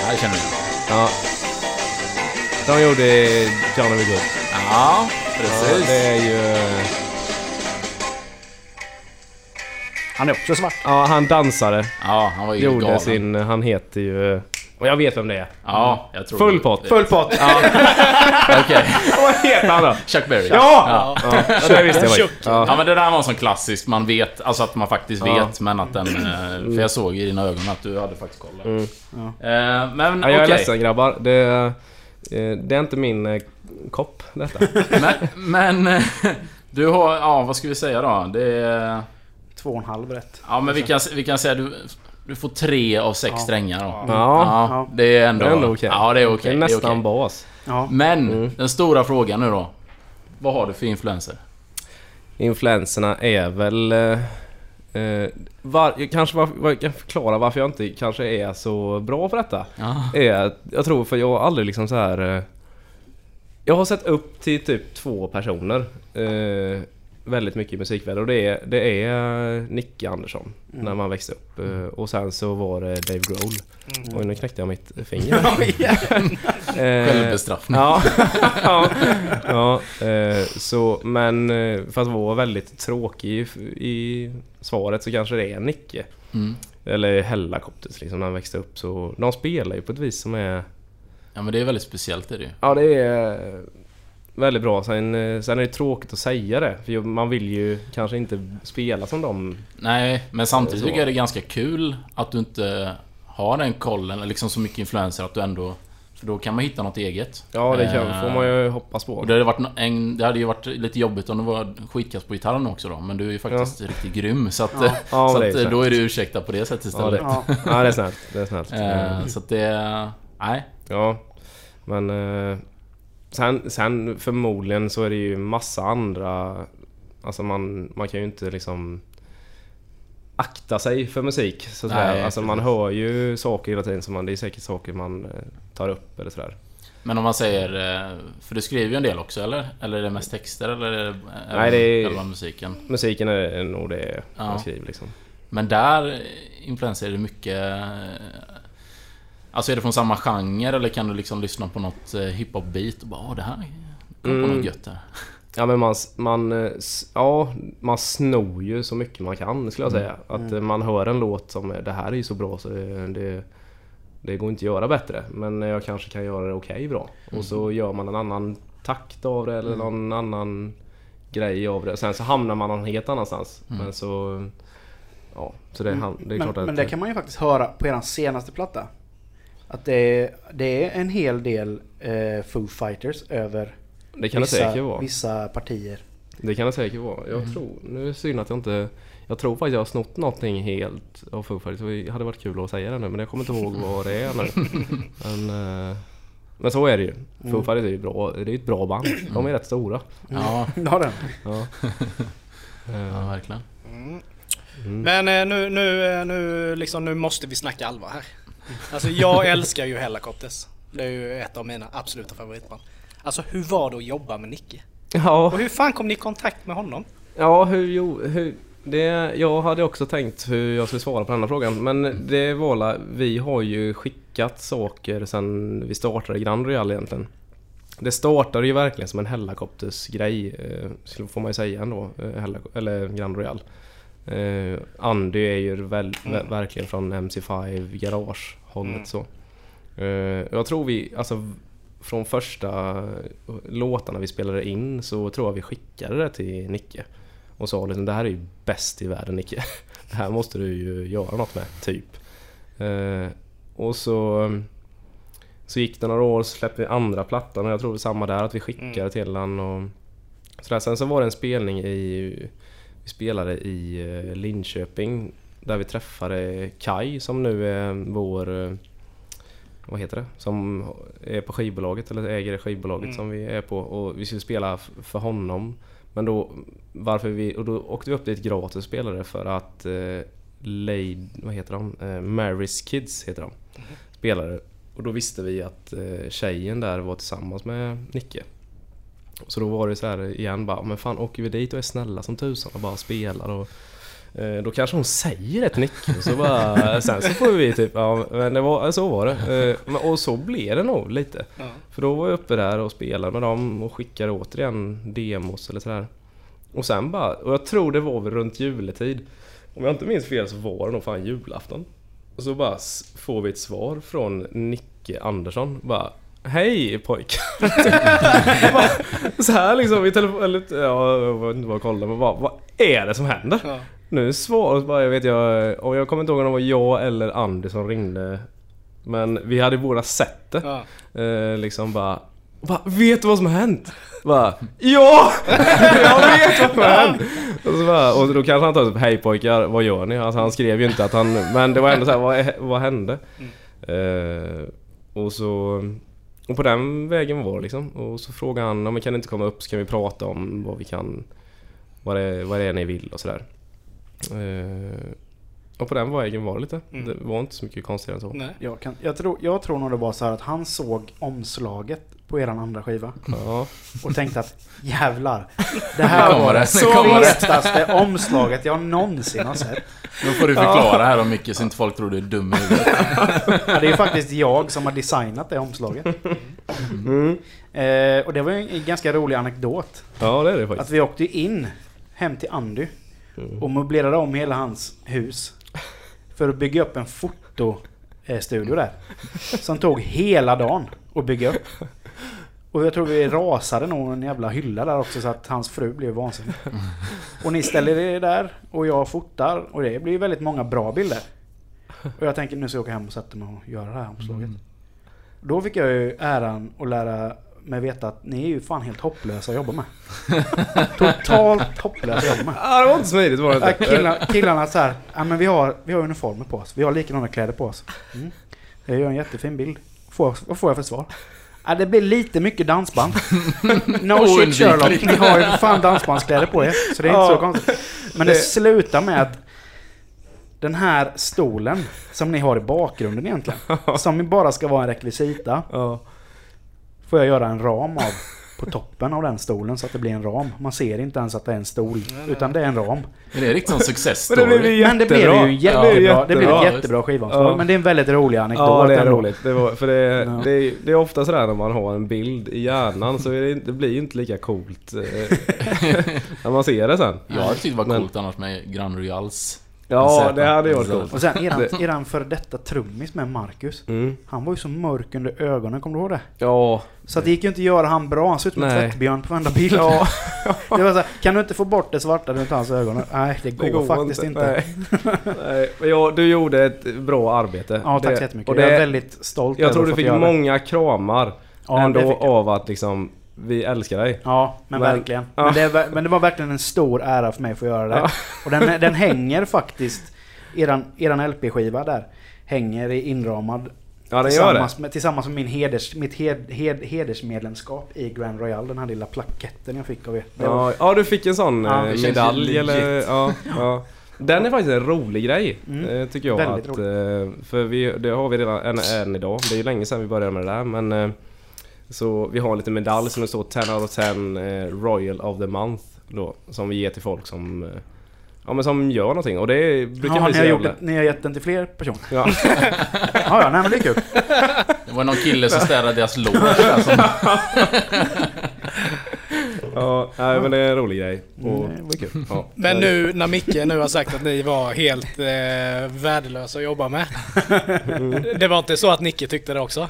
Speaker 1: Det här känner du.
Speaker 2: Ja. De gjorde Johnny B. Good.
Speaker 1: Ja,
Speaker 2: Ja,
Speaker 1: precis.
Speaker 2: det är ju...
Speaker 3: Han är också svart.
Speaker 2: Ja, han dansare.
Speaker 1: Ja, han var ju
Speaker 2: Gjorde
Speaker 1: galen.
Speaker 2: sin... Han heter ju... Och jag vet vem det är.
Speaker 1: Ja, jag tror
Speaker 2: Full pott.
Speaker 3: Full pott.
Speaker 1: Okej.
Speaker 2: Vad heter han då?
Speaker 1: Chuck Berry.
Speaker 2: Ja! Ja, det visste jag
Speaker 4: Chuck.
Speaker 2: faktiskt. Ja.
Speaker 1: Ja men det där var en sån klassisk, man vet, alltså att man faktiskt
Speaker 2: Ja.
Speaker 1: vet men att den... eh, För jag såg i dina ögon att du hade faktiskt koll där. Eh, Men
Speaker 2: Mm. Ja, jag är
Speaker 1: okej.
Speaker 2: ledsen grabbar. Det, eh, det är inte min eh, kopp detta.
Speaker 1: Men, men eh, du har, ja vad ska vi säga då? Det är,
Speaker 3: Två och en halv rätt.
Speaker 1: Ja men vi kan, vi kan säga du, du får tre av sex strängar då. Ja.
Speaker 2: Ja,
Speaker 1: det är ändå...
Speaker 2: Det är ändå okej.
Speaker 1: Ja det är okej.
Speaker 2: det är
Speaker 1: det är
Speaker 2: nästan Mm.
Speaker 1: okej.
Speaker 2: bas.
Speaker 3: Ja.
Speaker 1: Men den stora frågan nu då. Vad har du för influenser?
Speaker 2: Influenserna är väl... eh, eh, var, jag kanske var, var, jag kan förklara varför jag inte kanske är så bra på detta.
Speaker 1: Ja.
Speaker 2: Är, att- jag tror för jag har aldrig liksom så här. eh, Jag har sett upp till typ två personer eh, väldigt mycket i musikvärlden och det är, det är eh, Nicke Andersson när man växte upp eh, och sen så var det Dave Grohl. Oj nu knäckte jag mitt finger. Eh,
Speaker 1: Självbestraffning.
Speaker 2: Ja, ja, ja eh, så, men eh, för att vara väldigt tråkig i, i svaret så kanske det är Nicke.
Speaker 1: Mm.
Speaker 2: Eller Hella Koptis liksom, när han växte upp. Så de spelar ju på ett vis som är...
Speaker 1: Ja men det är väldigt speciellt är det ju.
Speaker 2: Ja, det är väldigt bra. Sen, eh, sen är det tråkigt att säga det. För man vill ju kanske inte spela som dem.
Speaker 1: Nej, men samtidigt
Speaker 2: Så.
Speaker 1: tycker jag det är ganska kul att du inte har den kollen, eller liksom så mycket influenser att du ändå... För då kan man hitta något eget.
Speaker 2: Ja, det kan,
Speaker 1: Eh,
Speaker 2: får man ju hoppas på.
Speaker 1: Och det hade, varit no- en, det hade ju varit lite jobbigt om du var skitkass på gitarren också då, men du är ju faktiskt riktigt grym så att,
Speaker 2: Ja,
Speaker 1: så
Speaker 2: men det är
Speaker 1: att
Speaker 2: sant.
Speaker 1: då är du ursäktad på det sättet
Speaker 2: Ja,
Speaker 1: istället.
Speaker 2: det,
Speaker 3: Ja.
Speaker 2: ja, det är snällt. Det är snällt.
Speaker 1: Eh, Så att det... Nej.
Speaker 2: Ja, men eh, sen, sen förmodligen så är det ju massa andra... Alltså man, man kan ju inte liksom akta sig för musik. Så att
Speaker 1: Nej,
Speaker 2: säga. Alltså man
Speaker 1: precis.
Speaker 2: hör ju saker hela tiden, så man, det är säkert saker man eh, tar upp eller sådär.
Speaker 1: Men om man säger... eh, För du skriver ju en del också eller? Eller är det mest texter eller är det,
Speaker 2: Nej, det är-
Speaker 1: själva musiken?
Speaker 2: Musiken är nog det man
Speaker 1: Ja.
Speaker 2: skriver liksom.
Speaker 1: Men där eh, influenserar det mycket... eh, Alltså är det från samma genre eller kan du liksom lyssna på något eh, hiphop-beat och bara Åh, det här... Kom på
Speaker 2: Mm.
Speaker 1: något gött där.
Speaker 2: Ja men man, s- man, eh, s- ja, man snor
Speaker 3: Mm.
Speaker 2: ju så mycket man kan skulle jag säga. Att eh, man hör en låt som är, det här är ju så bra så det, det, Det går inte att göra bättre men jag kanske kan göra det okej bra.
Speaker 3: Mm.
Speaker 2: Och så gör man en annan takt av det eller någon annan grej av det. Sen så hamnar man någon helt annanstans. Men så... Ja, så det, är han- det är
Speaker 3: Mm. men,
Speaker 2: klart att...
Speaker 3: men det kan man ju faktiskt höra på er senaste platta. Att det är, det är en hel del eh, Foo Fighters över
Speaker 2: det kan det säkert
Speaker 3: vissa,
Speaker 2: vara.
Speaker 3: vissa partier.
Speaker 2: Det kan det säkert vara. Jag tror, nu är det synd att jag inte... Jag tror faktiskt jag har snott någonting helt av Foo Fighters. Det hade varit kul att säga det nu men jag kommer inte ihåg vad det är nu. Men, eh, men så är det ju. Foo Fighters är ju bra. Det är ju ett bra band. De är rätt stora.
Speaker 1: Ja,
Speaker 3: Ja, den.
Speaker 2: Ja. Eh,
Speaker 1: ja verkligen.
Speaker 4: Men eh, nu, nu, eh, nu, liksom, nu måste vi snacka allvar här. Alltså jag älskar ju Hellacopters. Det är ju ett av mina absoluta favoritband. Alltså hur var det att jobba med Nicke?
Speaker 2: ja.
Speaker 4: Och hur fan kom ni i kontakt med honom?
Speaker 2: Ja, hur, jo, hur, det, jag hade också tänkt hur jag skulle svara på den här frågan. Men det var la- vi har ju skickat saker sedan vi startade Grand Royal egentligen. Det startade ju verkligen som en Hellacopters-grej, eh, skulle- får man ju säga ändå, eh, Hellaco- eller Grand Royal. Eh, Andy är ju väl, ver- verkligen från MC5 Garage-hållet så. Eh, jag tror vi, alltså från första låtarna vi spelade in så tror jag vi skickade det till Nicke. Och sa liksom, det här är ju bäst i världen Nicke. Det här måste du ju göra något med, typ. Eh, och så, så gick det några år så släppte vi andra plattan och jag tror det var samma där, att vi skickade till han och sådär. Sen så var det en spelning i, vi spelade i eh, Linköping där vi träffade Kai som nu är vår eh, vad heter det? Som är på skivbolaget eller äger det skivbolaget som vi är på och vi skulle spela f- för honom. Men då varför vi, och då åkte vi upp dit gratis och spelade för att eh, Lady, vad heter de? Eh, Mary's Kids heter de. Spelade. Och då visste vi att eh, tjejen där var tillsammans med Nicke. Så då var det så här igen bara, men fan åker vi dit och är snälla som tusan och bara spelar och eh, då kanske hon säger ett nick och så bara, eh, sen så får vi typ, ja men det var, så var det. Eh, men- Och så blev det nog lite.
Speaker 4: Ja.
Speaker 2: För då var jag uppe där och spelade med dem och skickade återigen demos eller sådär. Och sen bara, och jag tror det var väl runt juletid. Om jag inte minns fel så var det nog fan julafton. Och så bara s- får vi ett svar från Nicke Andersson. Bara Hej pojkar! Bara så här liksom i telefon... Eller, ja, jag vet inte vad jag kollade men bara, vad är det som händer?
Speaker 4: Ja.
Speaker 2: Nu svarar bara, jag vet jag... Och jag kommer inte ihåg om det var jag eller Andy som ringde. Men vi hade båda sett det.
Speaker 4: Ja.
Speaker 2: Eh, liksom bara... Va, vet du vad som har hänt? Bara, ja! Jag vet vad som har hänt! Och, så bara, och då kanske han tar upp, hej pojkar, vad gör ni? Alltså han skrev ju inte att han... Men det var ändå så här, vad, vad hände?
Speaker 4: Mm.
Speaker 2: Eh, och så... Och på den vägen var det liksom. Och så frågade han, om vi kan ni inte komma upp så kan vi prata om vad vi kan... Vad det, vad det är ni vill och sådär. Eh, och på den vägen var det lite. Det var inte så mycket konstigare än så.
Speaker 4: Mm. Nej.
Speaker 3: Jag, kan, jag, tror, jag tror nog det var så här att han såg omslaget på eran andra skiva
Speaker 2: Ja.
Speaker 3: och tänkte att jävlar. Det här
Speaker 1: kommer
Speaker 3: var
Speaker 1: det,
Speaker 3: det
Speaker 1: nu
Speaker 3: så
Speaker 1: kommer det."
Speaker 3: fetaste omslaget jag någonsin har sett.
Speaker 1: Nu får du förklara här om mycket så inte folk tror du är dum i huvudet.
Speaker 3: Ja, det är ju faktiskt jag som har designat det omslaget. Eh, och det var ju en ganska rolig anekdot.
Speaker 2: ja, det är det faktiskt.
Speaker 3: Att vi åkte ju in hem till Andy och möblerade om hela hans hus. För att bygga upp en fotostudio där. Som tog hela dagen att bygga upp. Och jag tror vi rasade nog en jävla hylla där också så att hans fru blev vansinnig. Och ni ställer er där och jag fotar och det blir ju väldigt många bra bilder. Och jag tänker nu ska jag åka hem och sätta mig och göra det här omslaget. Då fick jag ju äran att lära mig veta att ni är ju fan helt hopplösa att jobba med. Totalt hopplösa att jobba med.
Speaker 2: Ah, det var inte smidigt var det inte.
Speaker 3: Äh, killar, killarna så här, ja, men vi, har, vi har uniformer på oss, vi har likadana kläder på oss. Mm. Jag gör en jättefin bild. Får, vad får jag för svar? Ja, det blir lite mycket dansband. No shit
Speaker 1: Oundvikligt.
Speaker 3: Sherlock, ni har ju för fan dansbandskläder på er. Så det är inte
Speaker 2: Ja.
Speaker 3: så konstigt. Men det slutar med att den här stolen som ni har i bakgrunden egentligen, som bara ska vara en rekvisita,
Speaker 2: Ja.
Speaker 3: får jag göra en ram av på toppen av den stolen så att det blir en ram. Man ser inte ens att det är en stol, utan det är en ram.
Speaker 1: Men det är riktigt en success story.
Speaker 2: Men det blir ju-
Speaker 3: Men det blev ju
Speaker 2: Jättebra.
Speaker 3: en jättebra,
Speaker 2: Ja,
Speaker 3: det blev ett
Speaker 1: jättebra.
Speaker 3: jättebra skivomslag.
Speaker 2: Ja.
Speaker 3: Men det är en väldigt rolig anekdot.
Speaker 2: Ja, det är
Speaker 3: ändå.
Speaker 2: roligt. Det, var, för det,
Speaker 3: Ja.
Speaker 2: det, är, det är ofta sådär när man har en bild i hjärnan så är det, inte- det blir ju inte lika coolt eh, när man ser det sen.
Speaker 1: Jag hade tyckt det var
Speaker 2: Men-
Speaker 1: coolt annars med Grand Royals
Speaker 2: Ja,
Speaker 1: Zäta.
Speaker 2: det hade ju varit
Speaker 1: Zäta.
Speaker 2: coolt.
Speaker 3: Och sen eran,
Speaker 2: Det-
Speaker 3: eran före detta trummis med Marcus.
Speaker 2: Mm.
Speaker 3: Han var ju så mörk under ögonen, kommer du ihåg det?
Speaker 2: Ja,
Speaker 3: Så att det gick ju inte att göra han bra, han såg ut som en
Speaker 2: Nej.
Speaker 3: tvättbjörn på varenda bild. Det var så här, kan du inte få bort det svarta runt hans ögon? Nej, det går, faktiskt inte.
Speaker 2: Nej. Nej. Men ja, du gjorde ett bra arbete.
Speaker 3: Ja, tack
Speaker 2: Det-
Speaker 3: så jättemycket.
Speaker 2: och det-
Speaker 3: jag är väldigt stolt
Speaker 2: Jag
Speaker 3: över
Speaker 2: tror
Speaker 3: att
Speaker 2: du
Speaker 3: ha fått
Speaker 2: fick
Speaker 3: göra det.
Speaker 2: många kramar
Speaker 3: Ja,
Speaker 2: ändå
Speaker 3: det fick jag.
Speaker 2: av att liksom, vi älskar dig.
Speaker 3: Ja, men,
Speaker 2: Men-
Speaker 3: verkligen.
Speaker 2: Ja.
Speaker 3: Men, det, var- men det var verkligen en stor ära för mig att få göra det.
Speaker 2: Ja.
Speaker 3: Och den, den hänger faktiskt, eran, eran LP-skiva där, hänger i inramad
Speaker 2: Ja, den gör det.
Speaker 3: tillsammans, med, tillsammans med min heders, mitt hed, hed, hedersmedlemskap i Grand Royal. Den här lilla plaketten jag fick av er. Det var-
Speaker 2: Ja, ja, du fick en sån
Speaker 3: Ja,
Speaker 2: eh,
Speaker 1: det känns
Speaker 2: medalj
Speaker 1: ju
Speaker 2: eller...
Speaker 1: legit.
Speaker 2: Ja, ja. Den är faktiskt en rolig grej,
Speaker 3: Mm.
Speaker 2: eh, tycker jag.
Speaker 3: Väldigt
Speaker 2: att, eh, för vi, det har vi redan än, än idag. Det är ju länge sedan vi började med det där, men... eh, Så vi har en liten medalj som det står 10 out of 10 eh, Royal of the Month då, som vi ger till folk som... eh, Ja men som gör någonting och det brukar
Speaker 3: Ja,
Speaker 2: bli
Speaker 3: ni
Speaker 2: så
Speaker 3: har, gjort
Speaker 2: jävla...
Speaker 3: det, ni har gett den till fler personer?
Speaker 2: Ja.
Speaker 3: Ja, ja, nej men det är kul.
Speaker 1: Det var någon kille som städade deras lår alltså, där som
Speaker 2: Ja, nej, men det är en rolig grej. Och,
Speaker 3: Mm, det var kul.
Speaker 2: ja.
Speaker 4: Men nu när Micke nu har sagt att ni var helt eh, värdelösa att jobba med. Det var inte så att Nicke tyckte det också?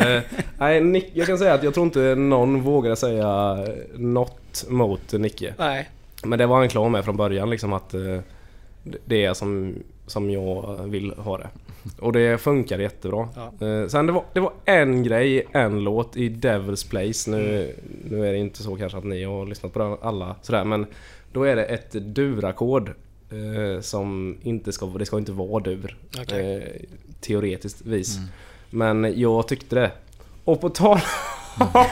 Speaker 2: Eh, nej, Nick, jag kan säga att jag tror inte någon vågade säga något mot Nicke.
Speaker 4: Nej.
Speaker 2: Men det var han klar med från början liksom att eh, det är som, som jag vill ha det. Och det funkar jättebra.
Speaker 4: Ja.
Speaker 2: Eh, Sen det var, det var en grej, en låt i Devil's Place. Nu, nu är det inte så kanske att ni har lyssnat på den alla sådär men då är det ett durackord eh, som inte ska, det ska inte vara dur.
Speaker 4: Okej.
Speaker 2: Eh, teoretiskt vis. Men jag tyckte det. Och på tal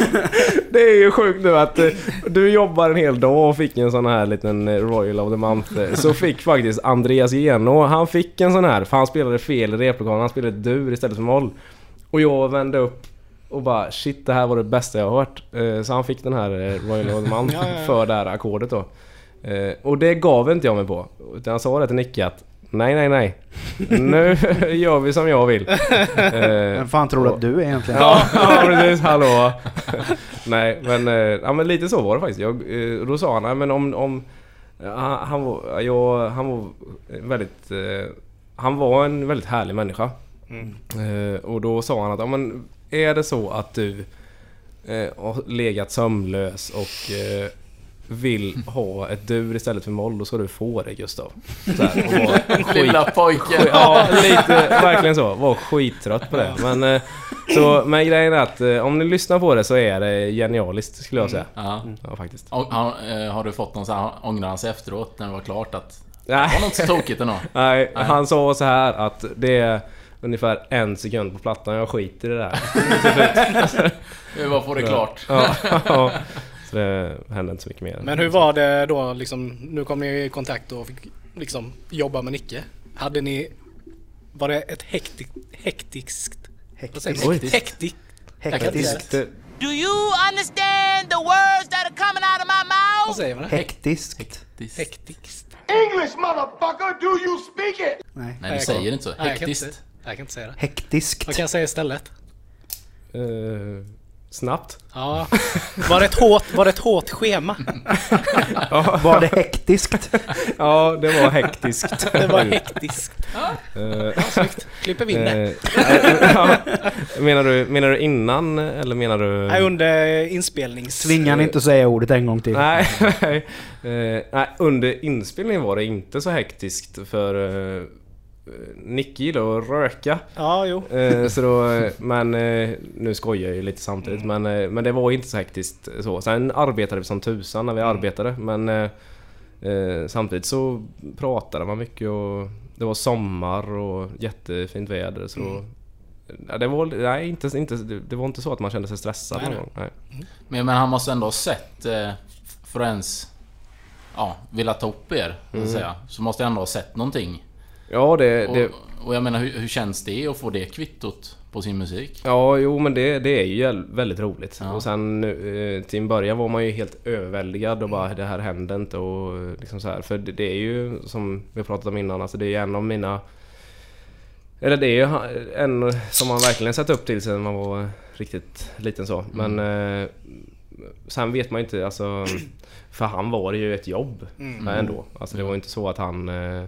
Speaker 2: Det är ju sjukt nu att eh, du jobbar en hel dag och fick en sån här liten eh, Royal of the Month. eh, Så fick faktiskt Andreas Jeno, han fick en sån här för han spelade fel i replokalen. Han spelade dur istället för moll. Och jag vände upp och bara shit det här var det bästa jag har hört. Eh, Så han fick den här eh, Royal of the Month
Speaker 4: Ja, ja, ja.
Speaker 2: för det här ackordet då. Eh, Och det gav inte jag mig på. Utan jag sa det till Nicke att nej nej nej. Nu gör vi som jag vill. Eh,
Speaker 3: Vem fan tror du att du är egentligen?
Speaker 2: Ja, ja precis. Hallå. Nej, men, eh, ja, men lite så var det faktiskt. Jag, eh, och då sa han, nej, men om... om ja, han, han, var, jag, han var väldigt... eh, Han var en väldigt härlig människa. Eh, Och då sa han att, ja, men är det så att du eh, har legat sömnlös och eh, vill ha ett dur istället för moll, då ska du få det Gustav. Så här, och var skit-
Speaker 1: lilla pojken.
Speaker 2: Ja, lite verkligen så. Var skittrött på det. Men, eh, så, men grejen är att eh, om ni lyssnar på det så är det genialiskt skulle jag säga.
Speaker 1: Ja.
Speaker 2: Ja, faktiskt.
Speaker 1: Och Har, eh, har du fått någon så här ångranse efteråt när det var klart att det var
Speaker 2: Nej,
Speaker 1: något så tokigt ändå?
Speaker 2: nej,
Speaker 1: Nej.
Speaker 2: han sa så här att det är ungefär en sekund på plattan. Jag skiter i det där. Till slut.
Speaker 1: Hur var får det klart?
Speaker 2: Ja, ja. Så det hände inte så mycket mer.
Speaker 4: Men hur var det då liksom? Nu kom ni i kontakt och fick liksom jobba med Nicke. Hade ni... Var det ett hektik, hektiskt... Vad säger man?
Speaker 3: Hektiskt.
Speaker 1: Hektiskt.
Speaker 4: Hektik?
Speaker 3: Hektiskt.
Speaker 2: det?
Speaker 5: Do you understand the words that are coming out of my mouth?
Speaker 4: Vad säger man? det?
Speaker 3: Hektiskt.
Speaker 1: Hektiskt.
Speaker 4: Hektiskt?
Speaker 6: English, motherfucker! Do you speak it?
Speaker 3: Nej.
Speaker 1: Nej, du
Speaker 4: jag kan-
Speaker 1: säger inte så.
Speaker 4: Nej, jag kan inte,
Speaker 1: Hektiskt.
Speaker 4: jag kan inte säga det. Vad
Speaker 3: Hektiskt.
Speaker 4: kan jag säga istället?
Speaker 2: Eh, snabbt.
Speaker 4: Ja. Var det ett hårt, var det ett hårt schema?
Speaker 3: Var det hektiskt?
Speaker 2: Ja, det var hektiskt.
Speaker 4: Det var hektiskt.
Speaker 2: Eh,
Speaker 4: Klipper vi in det?
Speaker 2: Eh, ja. menar, du, menar du innan eller menar du...
Speaker 4: Nej, under inspelnings...
Speaker 3: Tvinga ni inte att säga ordet en gång till.
Speaker 2: Nej, nej. Eh, nej, under inspelningen var det inte så hektiskt för uh, Nicky gillar att röka.
Speaker 4: Ja, jo.
Speaker 2: Eh, så då, eh, men eh, nu skojar jag ju lite samtidigt
Speaker 4: Mm.
Speaker 2: men, eh, men det var inte så hektiskt så. Sen arbetade vi som tusan när vi
Speaker 4: Mm.
Speaker 2: arbetade men eh, eh, samtidigt så pratade man mycket och det var sommar och jättefint väder så
Speaker 4: Mm.
Speaker 2: ja, det, var, nej, inte, inte, det det var inte så att man kände sig stressad
Speaker 4: Nej,
Speaker 2: någon
Speaker 4: nej.
Speaker 2: gång. Nej.
Speaker 1: Men, men han måste ändå ha sett eh, för att ens ja, vilja ta upp er, så,
Speaker 4: Mm.
Speaker 1: att säga. så måste han ändå ha sett någonting.
Speaker 2: Ja, det,
Speaker 1: Och,
Speaker 2: det,
Speaker 1: och jag menar, hur, hur känns det att få det kvittot på sin musik?
Speaker 2: Ja, jo men det, det är ju jäl- väldigt roligt. Och sen eh, till en början var man ju helt överväldigad och bara det här händer inte och eh, liksom så här. För det, det är ju som vi har pratat om innan, alltså det är ju en av mina... Eller det är ju ha- en som man verkligen sett upp till sen man var riktigt liten så.
Speaker 1: Mm.
Speaker 2: Men eh, sen vet man ju inte
Speaker 1: Mm.
Speaker 2: alltså... För han var det ju ett jobb ändå. Alltså det var ju inte så att han... eh,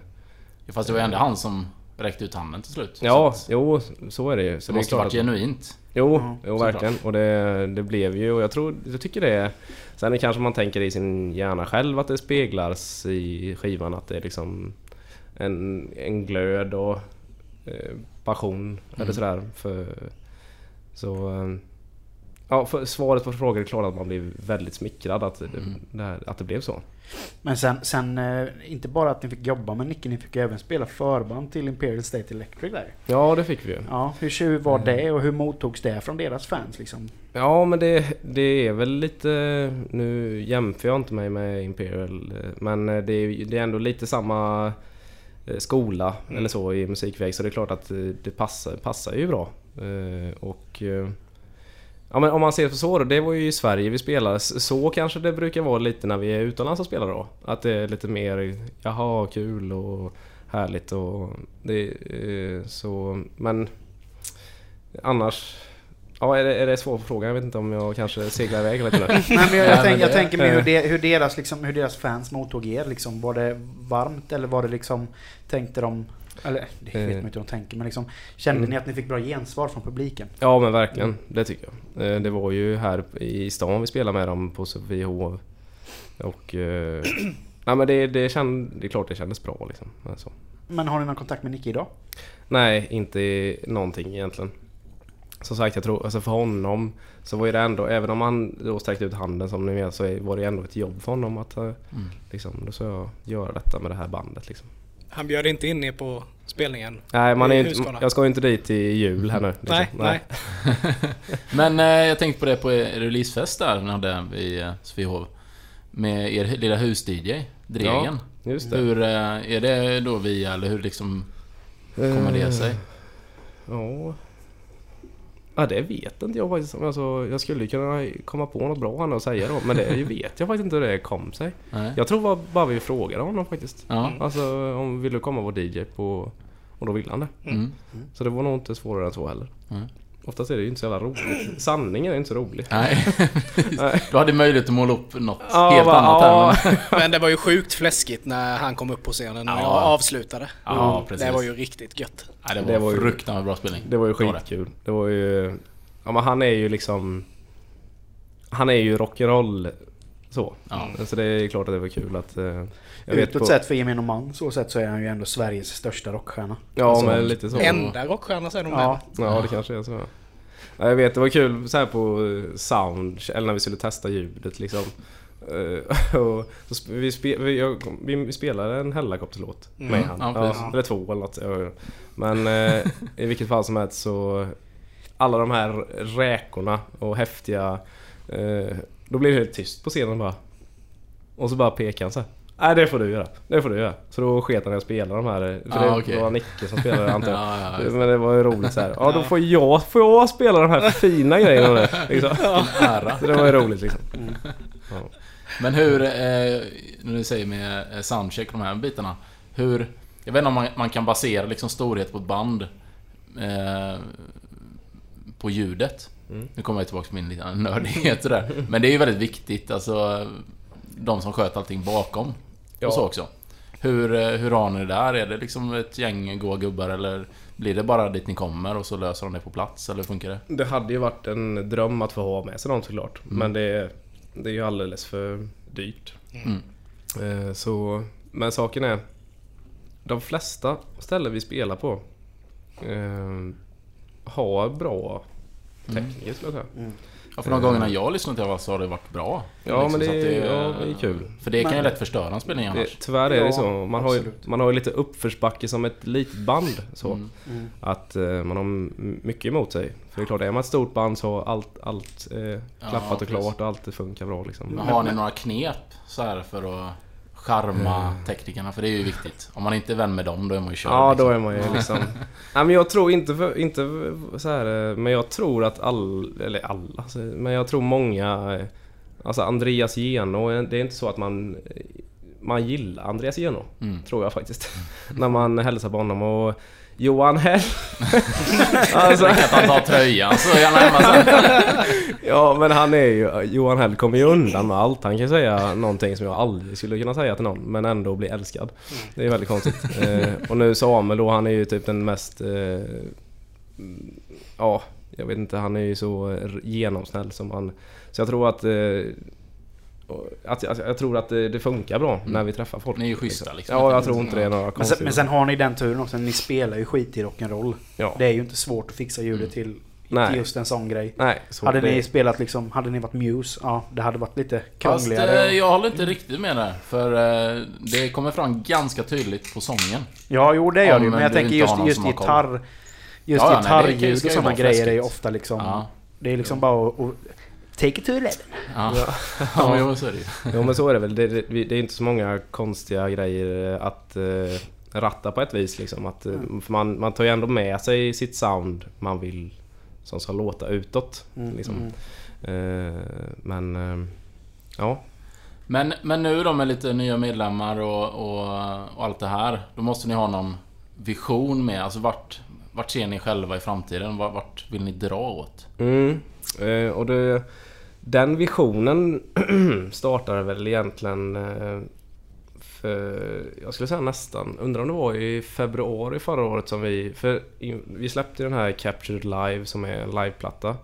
Speaker 1: Fast det var ju ändå han som räckte ut handen till slut.
Speaker 2: Ja,
Speaker 1: så att
Speaker 2: jo så är det ju. Så
Speaker 1: det
Speaker 2: det är
Speaker 1: måste
Speaker 2: klart
Speaker 1: varit
Speaker 2: att-
Speaker 1: genuint.
Speaker 2: Jo,
Speaker 3: Ja,
Speaker 2: jo
Speaker 1: såklart.
Speaker 2: verkligen. Och det, det blev ju, och jag tror, jag tycker det är... Sen är kanske man tänker i sin hjärna själv att det speglas i skivan att det är liksom en, en glöd och eh, passion eller sådär. För, så... eh, Ja, för svaret på frågan är klart att man blir väldigt smickrad att, det- det, här, att det blev så.
Speaker 3: Men sen, sen, eh, inte bara att ni fick jobba med Nicke, ni fick ju även spela förband till Imperial State Electric där.
Speaker 2: Ja, det fick vi ju.
Speaker 3: Ja, hur tjur var
Speaker 2: Mm.
Speaker 3: det och hur mottogs det från deras fans liksom?
Speaker 2: Ja men det, det är väl lite... Nu jämför jag inte mig med Imperial eh, men eh, det är, ju- det är ändå lite samma eh, skola eller så i musikväg så det är klart att eh, det passar, passar ju bra. Eh, Och... eh, Ja men om man ser på så då, det var ju i Sverige vi spelade. S- Så kanske det brukar vara lite när vi är utomlands och spelar då. Att det är lite mer jaha, kul och härligt och det eh, så... Men annars... Ja, är det, är det en svår fråga? Jag vet inte om jag kanske seglar iväg lite nu.
Speaker 3: Nej, men jag,
Speaker 1: Nej,
Speaker 3: jag, tänk,
Speaker 1: men
Speaker 3: jag
Speaker 1: det-
Speaker 3: tänker mig hur, de, hur, deras, liksom, hur deras fans mottog er. Liksom. Var det varmt eller var det liksom... Tänkte de... Eller det vet man
Speaker 2: Eh. Mm.
Speaker 3: inte hur de tänker men liksom... Kände ni att ni fick bra gensvar från publiken?
Speaker 2: Ja, men verkligen. Det tycker jag. Eh, Det var ju här i stan vi spelade med dem på Sofiehov. Och... eh, Nej men det, det, känd, det är klart det kändes bra liksom. Alltså.
Speaker 3: Men har ni någon kontakt med Nicke idag?
Speaker 2: Nej, inte någonting egentligen. Som sagt, jag tror, alltså för honom så var ju det ändå, även om han då sträckte ut handen som ni vet så är- var det ju ändå ett jobb för honom att eh, liksom, då ska jag göra detta med det här bandet liksom.
Speaker 4: Han bjöd inte in er på spelningen.
Speaker 2: Nej, man är
Speaker 4: I
Speaker 2: ju inte,
Speaker 4: Huskvarna.
Speaker 2: jag ska ju inte dit i jul här nu. liksom.
Speaker 4: Nej, nej.
Speaker 1: Men eh, jag tänkte på det på er releasefest där ni hade i eh, Svehov. Med er lilla hus-DJ, Dregen.
Speaker 2: Ja, just det.
Speaker 1: Hur eh, är det då via, eller hur liksom kommer det sig?
Speaker 2: Eh. Ja. Ja det vet inte jag faktiskt. Alltså, jag skulle ju kunna komma på något bra här nu att säga då. Men det vet jag faktiskt inte hur det kom sig.
Speaker 1: Nej.
Speaker 2: Jag tror bara, bara vi frågade honom faktiskt.
Speaker 1: Ja.
Speaker 2: Alltså om vill du komma och vara DJ på... Och då ville han det.
Speaker 1: Mm.
Speaker 2: Så det var nog inte svårare än så heller.
Speaker 1: Nej.
Speaker 2: Oftast är det ju inte så jävla roligt. Sanningen är inte så rolig.
Speaker 1: Nej, precis. Du hade möjlighet att måla upp något
Speaker 2: Ja,
Speaker 1: helt
Speaker 2: bara,
Speaker 1: annat
Speaker 2: ja.
Speaker 1: här. Men,
Speaker 4: Men det var ju sjukt fläskigt när han kom upp på scenen och
Speaker 1: Ja.
Speaker 4: jag avslutade.
Speaker 1: ja,
Speaker 4: Mm.
Speaker 1: precis.
Speaker 4: Det var ju riktigt gött.
Speaker 1: Nej, det var,
Speaker 2: Det var ju-
Speaker 1: fruktansvärt bra spelning.
Speaker 2: Det var ju
Speaker 1: var det.
Speaker 2: skitkul. Det var ju... Ja men han är ju liksom... Han är ju rock'n'roll så.
Speaker 1: Ja.
Speaker 2: Så det är klart att det var kul att... eh, jag vet
Speaker 3: Utåt
Speaker 2: på-
Speaker 3: sett för gemene man så sett så är han ju ändå Sveriges största rockstjärna.
Speaker 2: Ja
Speaker 1: Alltså,
Speaker 2: men lite så.
Speaker 4: Enda rockstjärna säger de
Speaker 3: Ja.
Speaker 4: ja.
Speaker 2: Ja det kanske är så. Ja, jag vet det var kul så här på eh, sound eller när vi skulle testa ljudet liksom. Eh, och så sp- vi, spe, vi, jag, kom- vi spelade en Hellacopterlåt med han.
Speaker 1: Mm. ja,
Speaker 2: Ja,
Speaker 1: precis.
Speaker 2: eller två eller något. Ja, ja. Men eh, i vilket fall som helst så alla de här räkorna och häftiga eh, Då blev det helt tyst på scenen bara. Och så bara pekade han så här. Nej det får du göra, det får du göra. Så då sket han i att spela de här, eh, för
Speaker 1: Ah,
Speaker 2: det
Speaker 1: okej.
Speaker 2: var Nicke som spelade antar jag.
Speaker 1: Ja, ja, just
Speaker 2: Men det var ju roligt så här. Ja, då får jag, får jag spela de här fina grejerna nu. Liksom.
Speaker 1: Ära.
Speaker 2: Så det var ju roligt liksom.
Speaker 1: Men hur, eh, när du säger med eh, soundcheck och de här bitarna. Hur, jag vet inte om man, man kan basera liksom storhet på ett band eh, på ljudet. Nu kommer jag tillbaka till min lilla nördighet och där. Men det är ju väldigt viktigt, alltså de som sköter allting bakom.
Speaker 2: Ja.
Speaker 1: Och så också. Hur, eh, hur har ni det där? Är det liksom ett gäng goa gubbar eller blir det bara dit ni kommer och så löser de det på plats? Eller hur funkar det?
Speaker 2: Det hade ju varit en dröm att få ha med sig någon såklart.
Speaker 1: Mm.
Speaker 2: Men det, det är ju alldeles för dyrt.
Speaker 1: Mm.
Speaker 2: Eh, Så, men saken är, de flesta ställen vi spelar på eh, har bra
Speaker 1: Mm.
Speaker 2: tekniker skulle jag säga.
Speaker 1: Ja, för de gångerna jag har lyssnat till det så har det varit bra.
Speaker 2: Eh. Ja, men det
Speaker 1: så att
Speaker 2: är-
Speaker 1: eh,
Speaker 2: ja, det är kul.
Speaker 1: För det kan ju lätt förstöra en spelning
Speaker 2: Det,
Speaker 1: annars.
Speaker 2: tyvärr är
Speaker 3: Ja,
Speaker 2: det så. Man har, ju,
Speaker 3: absolut.
Speaker 2: man har ju lite uppförsbacke som ett litet band. Så.
Speaker 1: Mm.
Speaker 3: Mm.
Speaker 2: Att eh, man har m- mycket emot sig. För det är klart, är man ett stort band så har allt, allt eh, klappat och
Speaker 1: precis.
Speaker 2: klart och allt funkar bra. Liksom.
Speaker 1: Men har ni några knep så här för att charma teknikerna? För det är ju viktigt. Om man inte är vän med dem, då är man ju körd.
Speaker 2: Eh. Ja,
Speaker 1: liksom.
Speaker 2: då är man ju liksom... Nej, men jag tror inte, för, inte för- så här, eh, men jag tror att all, eller alla, alltså, men jag tror många, eh, alltså Andreas Geno, eh, det är inte så att man eh, man gillar Andreas Jeno, tror jag faktiskt. När man hälsar på honom och Johan Hell. alltså,
Speaker 1: Han tar tröjan så är han hemma sen.
Speaker 2: ja men han är ju, Johan Hell kommer ju undan med allt. Han kan ju säga någonting som jag aldrig skulle kunna säga till någon men ändå bli älskad. Det är väldigt konstigt. eh, och nu Samuel då, han är ju typ den mest... Eh, mm, ja, jag vet inte. Han är ju så eh, genomsnäll som han... Så jag tror att... Eh, och att, att, jag tror att det, det funkar bra när vi träffar folk.
Speaker 1: Ni är ju schyssta, liksom.
Speaker 2: Ja, jag tror inte det är några
Speaker 3: Men sen,
Speaker 2: konstiga...
Speaker 3: men sen har ni den turen också, ni spelar ju skit i rock'n'roll.
Speaker 2: Ja.
Speaker 3: Det är ju inte svårt att fixa ljudet till,
Speaker 2: Nej.
Speaker 3: till just en sån grej.
Speaker 2: Nej, så
Speaker 3: hade
Speaker 2: det-
Speaker 3: ni spelat liksom, hade ni varit Muse, ja det hade varit lite
Speaker 1: Fast eh,
Speaker 3: krångligare.
Speaker 1: jag håller inte riktigt med där. För eh, det kommer fram ganska tydligt på sången.
Speaker 3: Ja, jo det
Speaker 1: Ja,
Speaker 3: gör det ju. Men
Speaker 1: men
Speaker 3: jag
Speaker 1: du
Speaker 3: tänker
Speaker 1: inte
Speaker 3: just,
Speaker 1: har någon
Speaker 3: just
Speaker 1: som har koll.
Speaker 3: gitarr... Just
Speaker 1: Ja, ja, nej, det kan ju-
Speaker 3: gitarrljud
Speaker 1: ska
Speaker 3: och
Speaker 1: ju
Speaker 3: sådana
Speaker 1: vara
Speaker 3: grejer är ju
Speaker 1: fläskigt.
Speaker 3: ofta liksom...
Speaker 1: Ja.
Speaker 3: Det är liksom bara att... att- Take it to eleven.
Speaker 1: Ja, ja men jo, så är det ju.
Speaker 2: Jo men så är det väl. Det, det, vi- det är inte så många konstiga grejer att eh, ratta på ett vis liksom. Att, eh, för man, man tar ju ändå med sig sitt sound man vill som ska låta utåt. Liksom. Eh, men eh, ja.
Speaker 1: Men, men nu då med lite nya medlemmar och, och, och allt det här. Då måste ni ha någon vision med. Alltså vart, vart ser ni själva i framtiden? Vart, vart vill ni dra åt?
Speaker 2: Mm. Eh, och det, den visionen startade väl egentligen eh, för, jag skulle säga nästan, undrar om det var i februari förra året som vi, för in, vi släppte den här Captured Live som är en liveplatta.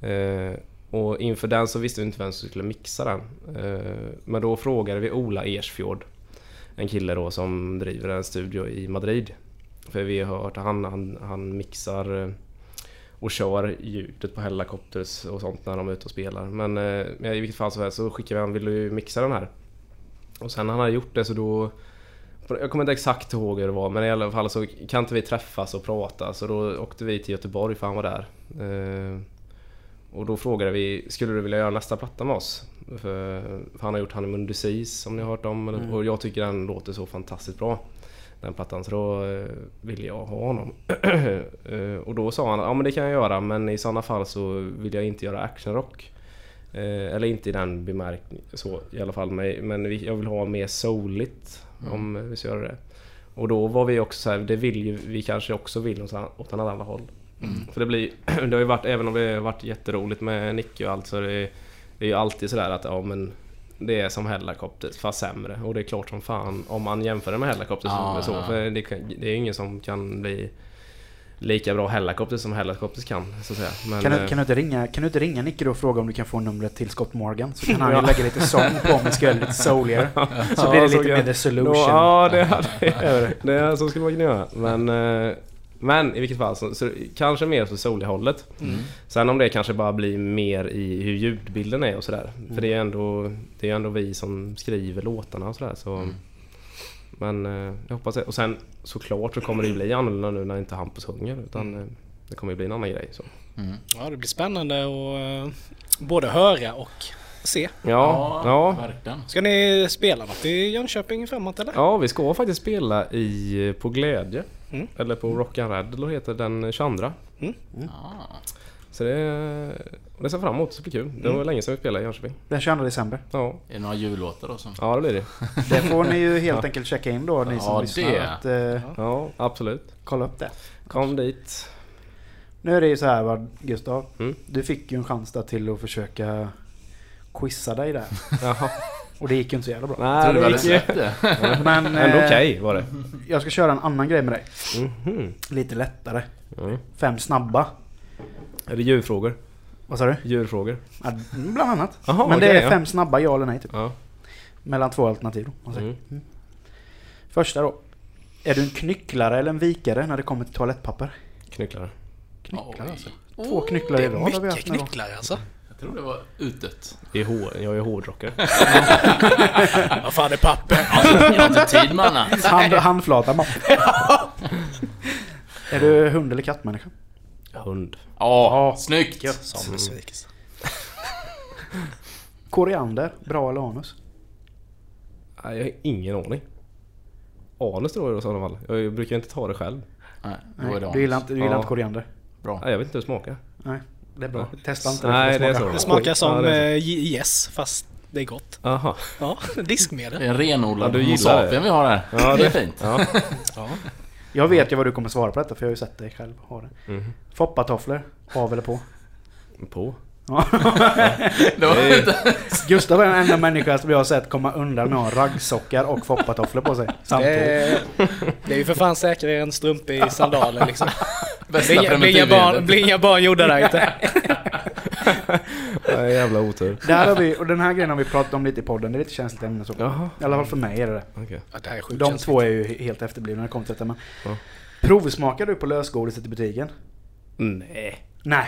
Speaker 2: Eh, och inför den så visste vi inte vem som skulle mixa den. Eh, men då frågade vi Ola Ersfjord, en kille då som driver en studio i Madrid. För vi har hört att han, han, han mixar eh, och kör ljudet på Hellacopters och sånt när de är ute och spelar. Men eh, men i vilket fall så, här, så skickade vi han, vill du mixa den här? Och sen när han hade gjort det så då... Jag kommer inte exakt ihåg hur det var men i alla fall så kan inte vi träffas och prata så då åkte vi till Göteborg för han var där. Eh, och då frågade vi, skulle du vilja göra nästa platta med oss? För, för han har gjort Honeymoon Disease som ni har hört om eller- och jag tycker den låter så fantastiskt bra. Den plattan, så då eh, ville jag ha honom. Eh, och då sa han, ja men det kan jag göra men i sådana fall så vill jag inte göra actionrock. Eh, eller inte i den bemärkningen så i alla fall. Men, men vi, jag vill ha mer souligt
Speaker 1: Mm.
Speaker 2: om vi ska göra det. Och då var vi också så här, det vill ju vi kanske också vill åt, åt ett annat håll.
Speaker 1: Mm.
Speaker 2: För det blir, det har ju varit, även om det har varit jätteroligt med Nicke och allt så är det, det är ju alltid sådär att ja men det är som Hellacopters fast sämre. Och det är klart som fan om man jämför det med Hellacopters
Speaker 1: Ja,
Speaker 2: så- så.
Speaker 1: ja.
Speaker 2: För det, kan- det är ju ingen som kan bli lika bra Hellacopters som Hellacopters kan så att säga. Men,
Speaker 3: Kan, du,
Speaker 2: eh,
Speaker 3: kan, du inte ringa, kan du inte ringa Nicke då och fråga om du kan få numret till Scott Morgan? Så kan han
Speaker 2: Ja.
Speaker 3: ju lägga lite sång på om vi ska göra lite souligare. Så
Speaker 2: Ja,
Speaker 3: blir det
Speaker 2: så
Speaker 3: lite
Speaker 2: kan-
Speaker 3: mer The Solution.
Speaker 2: Nå, Ja, det hade jag. Det är så skulle man kunna göra. Men, eh, men i vilket fall så, så kanske mer åt soliga hållet.
Speaker 3: Mm.
Speaker 2: Sen om det kanske bara blir mer i hur ljudbilden är och sådär.
Speaker 3: Mm.
Speaker 2: För det är ju ändå, det är ändå vi som skriver låtarna och sådär. Så.
Speaker 3: Mm.
Speaker 2: Men eh, jag hoppas det. Och sen såklart så kommer det ju bli annorlunda nu när inte Hampus sjunger. Utan
Speaker 3: Mm.
Speaker 2: eh, det kommer ju bli en annan grej. Så.
Speaker 4: Ja, det blir spännande att eh, både höra och se.
Speaker 2: Ja, ja,
Speaker 1: verkligen.
Speaker 4: Ska ni spela något i Jönköping framåt eller?
Speaker 2: Ja, vi ska faktiskt spela i På Glädje.
Speaker 4: Mm.
Speaker 2: Eller på Rock and Rattle heter den 22.
Speaker 4: Mm.
Speaker 2: Så det, det ser jag fram emot, så det blir kul. Det
Speaker 4: Mm.
Speaker 2: var länge sedan vi spelade i Jönköping.
Speaker 3: Den 22 december.
Speaker 2: Ja,
Speaker 1: Är det några jullåtar då som...
Speaker 2: ja det blir det.
Speaker 3: Det får ni ju helt enkelt checka in då, ni som
Speaker 1: Ja,
Speaker 3: lyssnar.
Speaker 1: det.
Speaker 3: Att, eh,
Speaker 2: Ja, absolut.
Speaker 3: kolla upp det.
Speaker 2: Kom dit.
Speaker 3: Nu är det ju så här va, Gustav.
Speaker 2: Mm.
Speaker 3: Du fick ju en chans där till att försöka quizza dig där.
Speaker 2: Jaha.
Speaker 3: Och det gick ju inte så jävla bra.
Speaker 2: Nej,
Speaker 1: Tror du
Speaker 2: det
Speaker 1: väl det
Speaker 2: gick ju.
Speaker 1: släppte?
Speaker 3: Men
Speaker 2: Ändå
Speaker 3: eh,
Speaker 2: okej var det.
Speaker 3: jag ska köra en annan grej med dig.
Speaker 2: Mhm.
Speaker 3: Lite lättare.
Speaker 2: Mm.
Speaker 3: Fem snabba.
Speaker 2: Är det djurfrågor?
Speaker 3: Vad sa du?
Speaker 2: Djurfrågor.
Speaker 3: Ja, bland annat.
Speaker 2: Jaha,
Speaker 3: Men det
Speaker 2: okej,
Speaker 3: är
Speaker 2: ja.
Speaker 3: fem snabba ja eller nej typ.
Speaker 2: Ja.
Speaker 3: Mellan två alternativ. Då, om man säger.
Speaker 2: Mm.
Speaker 3: Mm. Första då. Är du en knycklare eller en vikare när det kommer till toalettpapper?
Speaker 2: Knycklare.
Speaker 3: Knycklare alltså.
Speaker 1: Oj,
Speaker 3: Två knycklare i
Speaker 4: Det
Speaker 3: rad har
Speaker 4: är
Speaker 3: vi
Speaker 4: mycket
Speaker 3: haft nu då.
Speaker 4: knycklar alltså.
Speaker 1: Jag tror det var utdött.
Speaker 2: Det är hår, jag är hårdrockare.
Speaker 4: Vad fan är papper?
Speaker 1: Jag har inte tid med annat.
Speaker 3: Hand, handflata man. är du hund eller kattmänniska?
Speaker 2: Hund.
Speaker 1: Ja, snyggt!
Speaker 4: Som besvikelse.
Speaker 3: Koriander, bra eller anus?
Speaker 2: Nej, jag har ingen aning. Anus tror jag i sådana fall. Jag brukar inte ta det själv.
Speaker 1: Nej, då
Speaker 3: Nej,
Speaker 1: är det
Speaker 3: du gillar
Speaker 1: Hans.
Speaker 3: inte, du gillar
Speaker 2: Ja.
Speaker 3: inte koriander?
Speaker 1: Bra.
Speaker 2: Nej, jag vet inte hur det smakar.
Speaker 3: Nej, det är bra. Testa inte
Speaker 2: Nej,
Speaker 3: för
Speaker 2: det är
Speaker 3: smakar
Speaker 2: så.
Speaker 4: Det
Speaker 3: skit.
Speaker 4: smakar
Speaker 2: Ja,
Speaker 4: som
Speaker 2: det är
Speaker 4: eh, ge- yes fast Det är gott.
Speaker 2: Aha.
Speaker 4: Ja, diskmedel.
Speaker 1: En renodlad
Speaker 2: Ja, du
Speaker 1: Homo
Speaker 2: gillar det.
Speaker 1: sapien vi har här.
Speaker 2: Ja,
Speaker 1: det är
Speaker 2: det-
Speaker 1: fint.
Speaker 2: Ja.
Speaker 3: Jag vet ju vad du kommer svara på detta för jag har ju sett dig själv ha det.
Speaker 2: Mhm.
Speaker 3: Foppatofflor, av eller på?
Speaker 2: På.
Speaker 3: Ja.
Speaker 1: Det var inte...
Speaker 3: Gustav är den enda människa som jag har sett komma undan med att ha raggsockar och foppatofflor på sig samtidigt.
Speaker 4: Det, Eh, det är ju för fan säkrare än strump i sandaler liksom.
Speaker 1: Bästa
Speaker 4: Blir- Blir inga barn,
Speaker 1: preventivmedlet.
Speaker 4: blir inga barn gjorda där inte.
Speaker 2: Nej, jävla otur.
Speaker 3: Där har vi, och den här grejen har vi pratat om lite i podden, det är lite känsligt ämne så.
Speaker 2: Jaha.
Speaker 3: I alla fall för mig är det det.
Speaker 2: Okej.
Speaker 4: Ja, det här är sjukt
Speaker 3: De
Speaker 4: känsligt.
Speaker 3: två är ju helt efterblivna när det kommer till detta men...
Speaker 2: Ja.
Speaker 3: Provsmakar du på lösgodiset i butiken?
Speaker 2: Nej.
Speaker 3: Nej.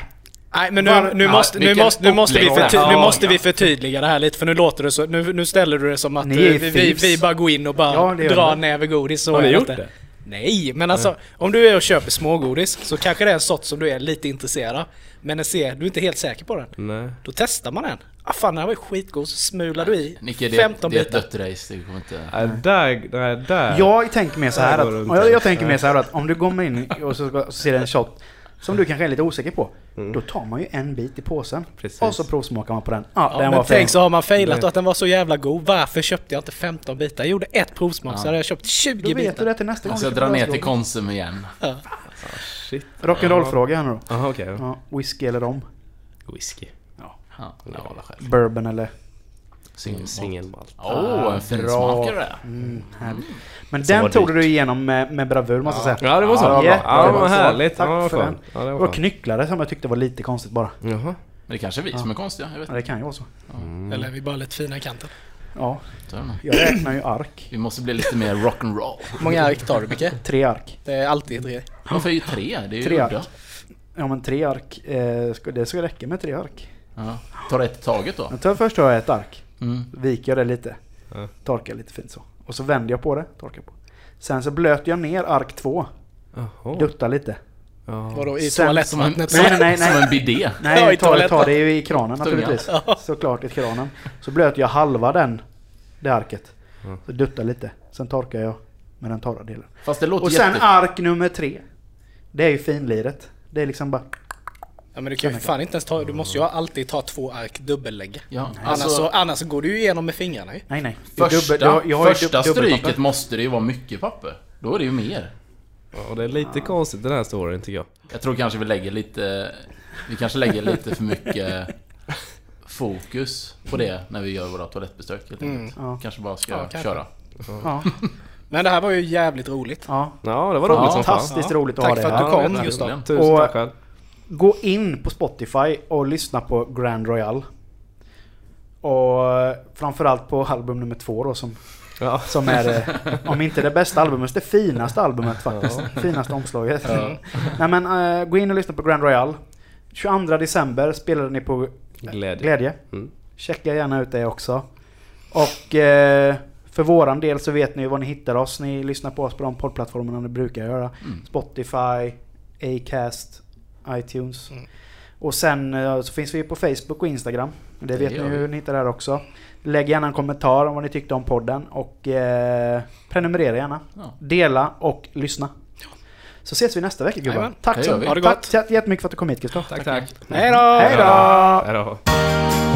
Speaker 4: Nej men
Speaker 3: Var-
Speaker 4: nu, nu,
Speaker 1: Ja,
Speaker 4: måste, nu,
Speaker 1: vilken
Speaker 4: måste, nu, måste vi
Speaker 1: upplevelse.
Speaker 4: förty- nu
Speaker 1: Ja,
Speaker 4: måste vi förtydliga det här lite för nu låter det så, nu, nu ställer du det som att
Speaker 3: Ni
Speaker 4: eh,
Speaker 3: är
Speaker 4: vi, vi,
Speaker 3: thieves.
Speaker 4: vi bara går in och bara
Speaker 3: Ja, det gör
Speaker 4: drar
Speaker 3: vi.
Speaker 4: en näve godis. Så
Speaker 2: Har ni
Speaker 4: är
Speaker 2: gjort
Speaker 4: inte.
Speaker 2: det?
Speaker 4: Nej, men alltså om du är och köper smågodis så kanske det är en sort som du är lite intresserad av. Men den ser, du är inte helt säker på den.
Speaker 1: Mm.
Speaker 2: Nej.
Speaker 4: Då testar man den. Ah fan den här var ju skitgod, så smular du i
Speaker 1: Nicke, det,
Speaker 4: 15
Speaker 1: det är ett
Speaker 4: bitar.
Speaker 1: dött race. Det kommer inte...
Speaker 2: Nej, där, nej, där.
Speaker 3: Jag tänker mer så här
Speaker 2: Där går det
Speaker 3: att,
Speaker 2: runt
Speaker 3: och jag,
Speaker 2: här.
Speaker 3: jag tänker mer så här att om du kommer in och så, ska- så ser du en shot som du kanske är lite osäker på. Då tar man ju en bit i påsen.
Speaker 2: Mm. Precis.
Speaker 3: Och så provsmakar man på den. Ja,
Speaker 4: Ja,
Speaker 3: den
Speaker 4: men
Speaker 3: var fin.
Speaker 4: tänk så har man failat
Speaker 2: Nej.
Speaker 4: och att den var så jävla god. Varför köpte jag inte 15 bitar? Jag gjorde ett provsmak så hade jag köpt 20
Speaker 3: Då vet du
Speaker 4: bitar.
Speaker 3: det till nästa gång.
Speaker 1: Jag ska
Speaker 3: du köper
Speaker 1: Alltså, dra ner till
Speaker 3: lösgodis.
Speaker 1: Konsum igen.
Speaker 2: Shit.
Speaker 3: Rock'n'roll-fråga här nu då.
Speaker 2: Jaha, okej.
Speaker 3: Ja, whisky eller rom?
Speaker 2: Whisky.
Speaker 1: Ja, jag håller själv.
Speaker 3: Bourbon eller...
Speaker 1: Singelmalt.
Speaker 2: Singelmalt.
Speaker 1: Mm. Åh, oh,
Speaker 3: Ah,
Speaker 1: en finsmakare!
Speaker 3: Mm. Men
Speaker 2: Som var
Speaker 3: den tog
Speaker 2: dyrt.
Speaker 3: du igenom med, med bravur måste jag säga.
Speaker 2: Ja, det var så. Ja,
Speaker 3: jättebra.
Speaker 2: ja, vad härligt.
Speaker 3: Tack
Speaker 2: Ja, vad
Speaker 3: för
Speaker 2: skönt.
Speaker 3: den.
Speaker 2: Ja, det
Speaker 3: det
Speaker 2: var
Speaker 3: var
Speaker 2: skönt.
Speaker 3: knycklare som jag tyckte var lite konstigt bara.
Speaker 2: Jaha.
Speaker 1: Men det kanske är vi som är konstiga. Jag vet
Speaker 3: Ja,
Speaker 1: inte.
Speaker 3: det kan ju vara så.
Speaker 4: Eller är vi bara lite fina i kanten?
Speaker 3: Ja,
Speaker 1: Jag vet inte.
Speaker 3: jag räknar ju ark.
Speaker 1: Vi måste bli lite mer rock'n'roll.
Speaker 4: Hur många ark tar du Micke?
Speaker 3: Tre ark.
Speaker 4: Det är alltid tre.
Speaker 1: Varför är ju tre? Det är ju
Speaker 3: Tre ark.
Speaker 1: udda.
Speaker 3: Ja men tre ark, eh, ska- det ska räcka med tre ark.
Speaker 1: Ja. Tar ett i taget då.
Speaker 3: Jag tar först tar jag ett ark,
Speaker 1: Mm.
Speaker 3: viker jag det lite,
Speaker 2: Ja.
Speaker 3: torkar lite fint så. Och så vänder jag på det, torkar på. Sen så blöter jag ner ark två,
Speaker 2: Jaha.
Speaker 3: duttar lite.
Speaker 2: Ja.
Speaker 4: Vadå
Speaker 3: Sen-
Speaker 4: i
Speaker 1: Som en,
Speaker 4: toalettvattnet?
Speaker 3: Nej, nej, nej, nej.
Speaker 1: Som en bidé.
Speaker 3: Nej,
Speaker 4: Ja, i
Speaker 3: jag tar, jag tar
Speaker 4: toaletten.
Speaker 3: det ju i kranen
Speaker 1: Tungan.
Speaker 3: naturligtvis. Såklart i kranen. Så blöter jag halva den, det arket. Så duttar lite. Sen torkar jag med den torra delen.
Speaker 1: Fast det låter
Speaker 3: Och sen
Speaker 1: jätte...
Speaker 3: ark nummer tre. Det är ju finliret. Det är liksom bara...
Speaker 4: Ja men du kan ju fan inte ens ta, du måste ju alltid ta två ark dubbellägga.
Speaker 1: Ja,
Speaker 4: annars, så,
Speaker 1: alltså,
Speaker 4: annars så går du ju igenom med fingrarna ju.
Speaker 3: Nej, nej. Det är
Speaker 1: första,
Speaker 3: dubbel- jag- jag har ju
Speaker 1: första
Speaker 3: dub- dubbelpapper.
Speaker 1: stryket måste det ju vara mycket papper. Då är det ju mer.
Speaker 2: Ja, det är lite konstigt den här storyn tycker jag.
Speaker 1: Jag tror kanske vi lägger lite... Vi kanske lägger lite för mycket fokus på det när vi gör våra toalettbesök helt enkelt.
Speaker 3: Mm. Ja.
Speaker 1: Kanske bara ska
Speaker 4: Ja, kanske.
Speaker 1: köra.
Speaker 3: Ja,
Speaker 4: Men det här var ju jävligt roligt.
Speaker 3: ja.
Speaker 2: Ja, det var roligt som fan.
Speaker 3: Fantastiskt roligt att
Speaker 4: Tack
Speaker 3: ha
Speaker 4: för
Speaker 3: det
Speaker 4: att
Speaker 3: här.
Speaker 4: du kom
Speaker 1: Ja,
Speaker 4: Gustav.
Speaker 1: verkligen.
Speaker 2: Tusen
Speaker 3: Och-
Speaker 2: tack själv.
Speaker 3: Gå in på Spotify och lyssna på Grand Royal. Och eh, framförallt på album nummer två då som,
Speaker 2: Ja.
Speaker 3: som är, eh, om inte det bästa albumet, så det finaste albumet faktiskt. Finaste omslaget. Nej men eh, gå in och lyssna på Grand Royal. 22 december spelade ni på eh,
Speaker 2: Glädje.
Speaker 3: Glädje.
Speaker 2: Mm.
Speaker 3: Checka gärna ut det också. Och eh, för våran del så vet ni ju var ni hittar oss. Ni lyssnar på oss på de poddplattformarna ni brukar göra. Spotify, Acast, iTunes. Och sen eh, så finns vi på Facebook och Instagram. Det,
Speaker 1: Det
Speaker 3: vet
Speaker 1: gör
Speaker 3: ni
Speaker 1: vi.
Speaker 3: hur ni hittar där också. Lägg gärna en kommentar om vad ni tyckte om podden och eh, prenumerera gärna.
Speaker 1: Ja.
Speaker 3: Dela och lyssna. Så ses vi nästa vecka gubbar.
Speaker 4: Jajamän.
Speaker 3: Tack
Speaker 1: Det
Speaker 3: så
Speaker 1: gör vi.
Speaker 4: Ha det
Speaker 3: tack
Speaker 4: gott.
Speaker 3: så jättemycket för att du kom hit Gustav.
Speaker 2: Tack, tack.
Speaker 4: Hej då!
Speaker 3: Hej då!
Speaker 2: Hej då.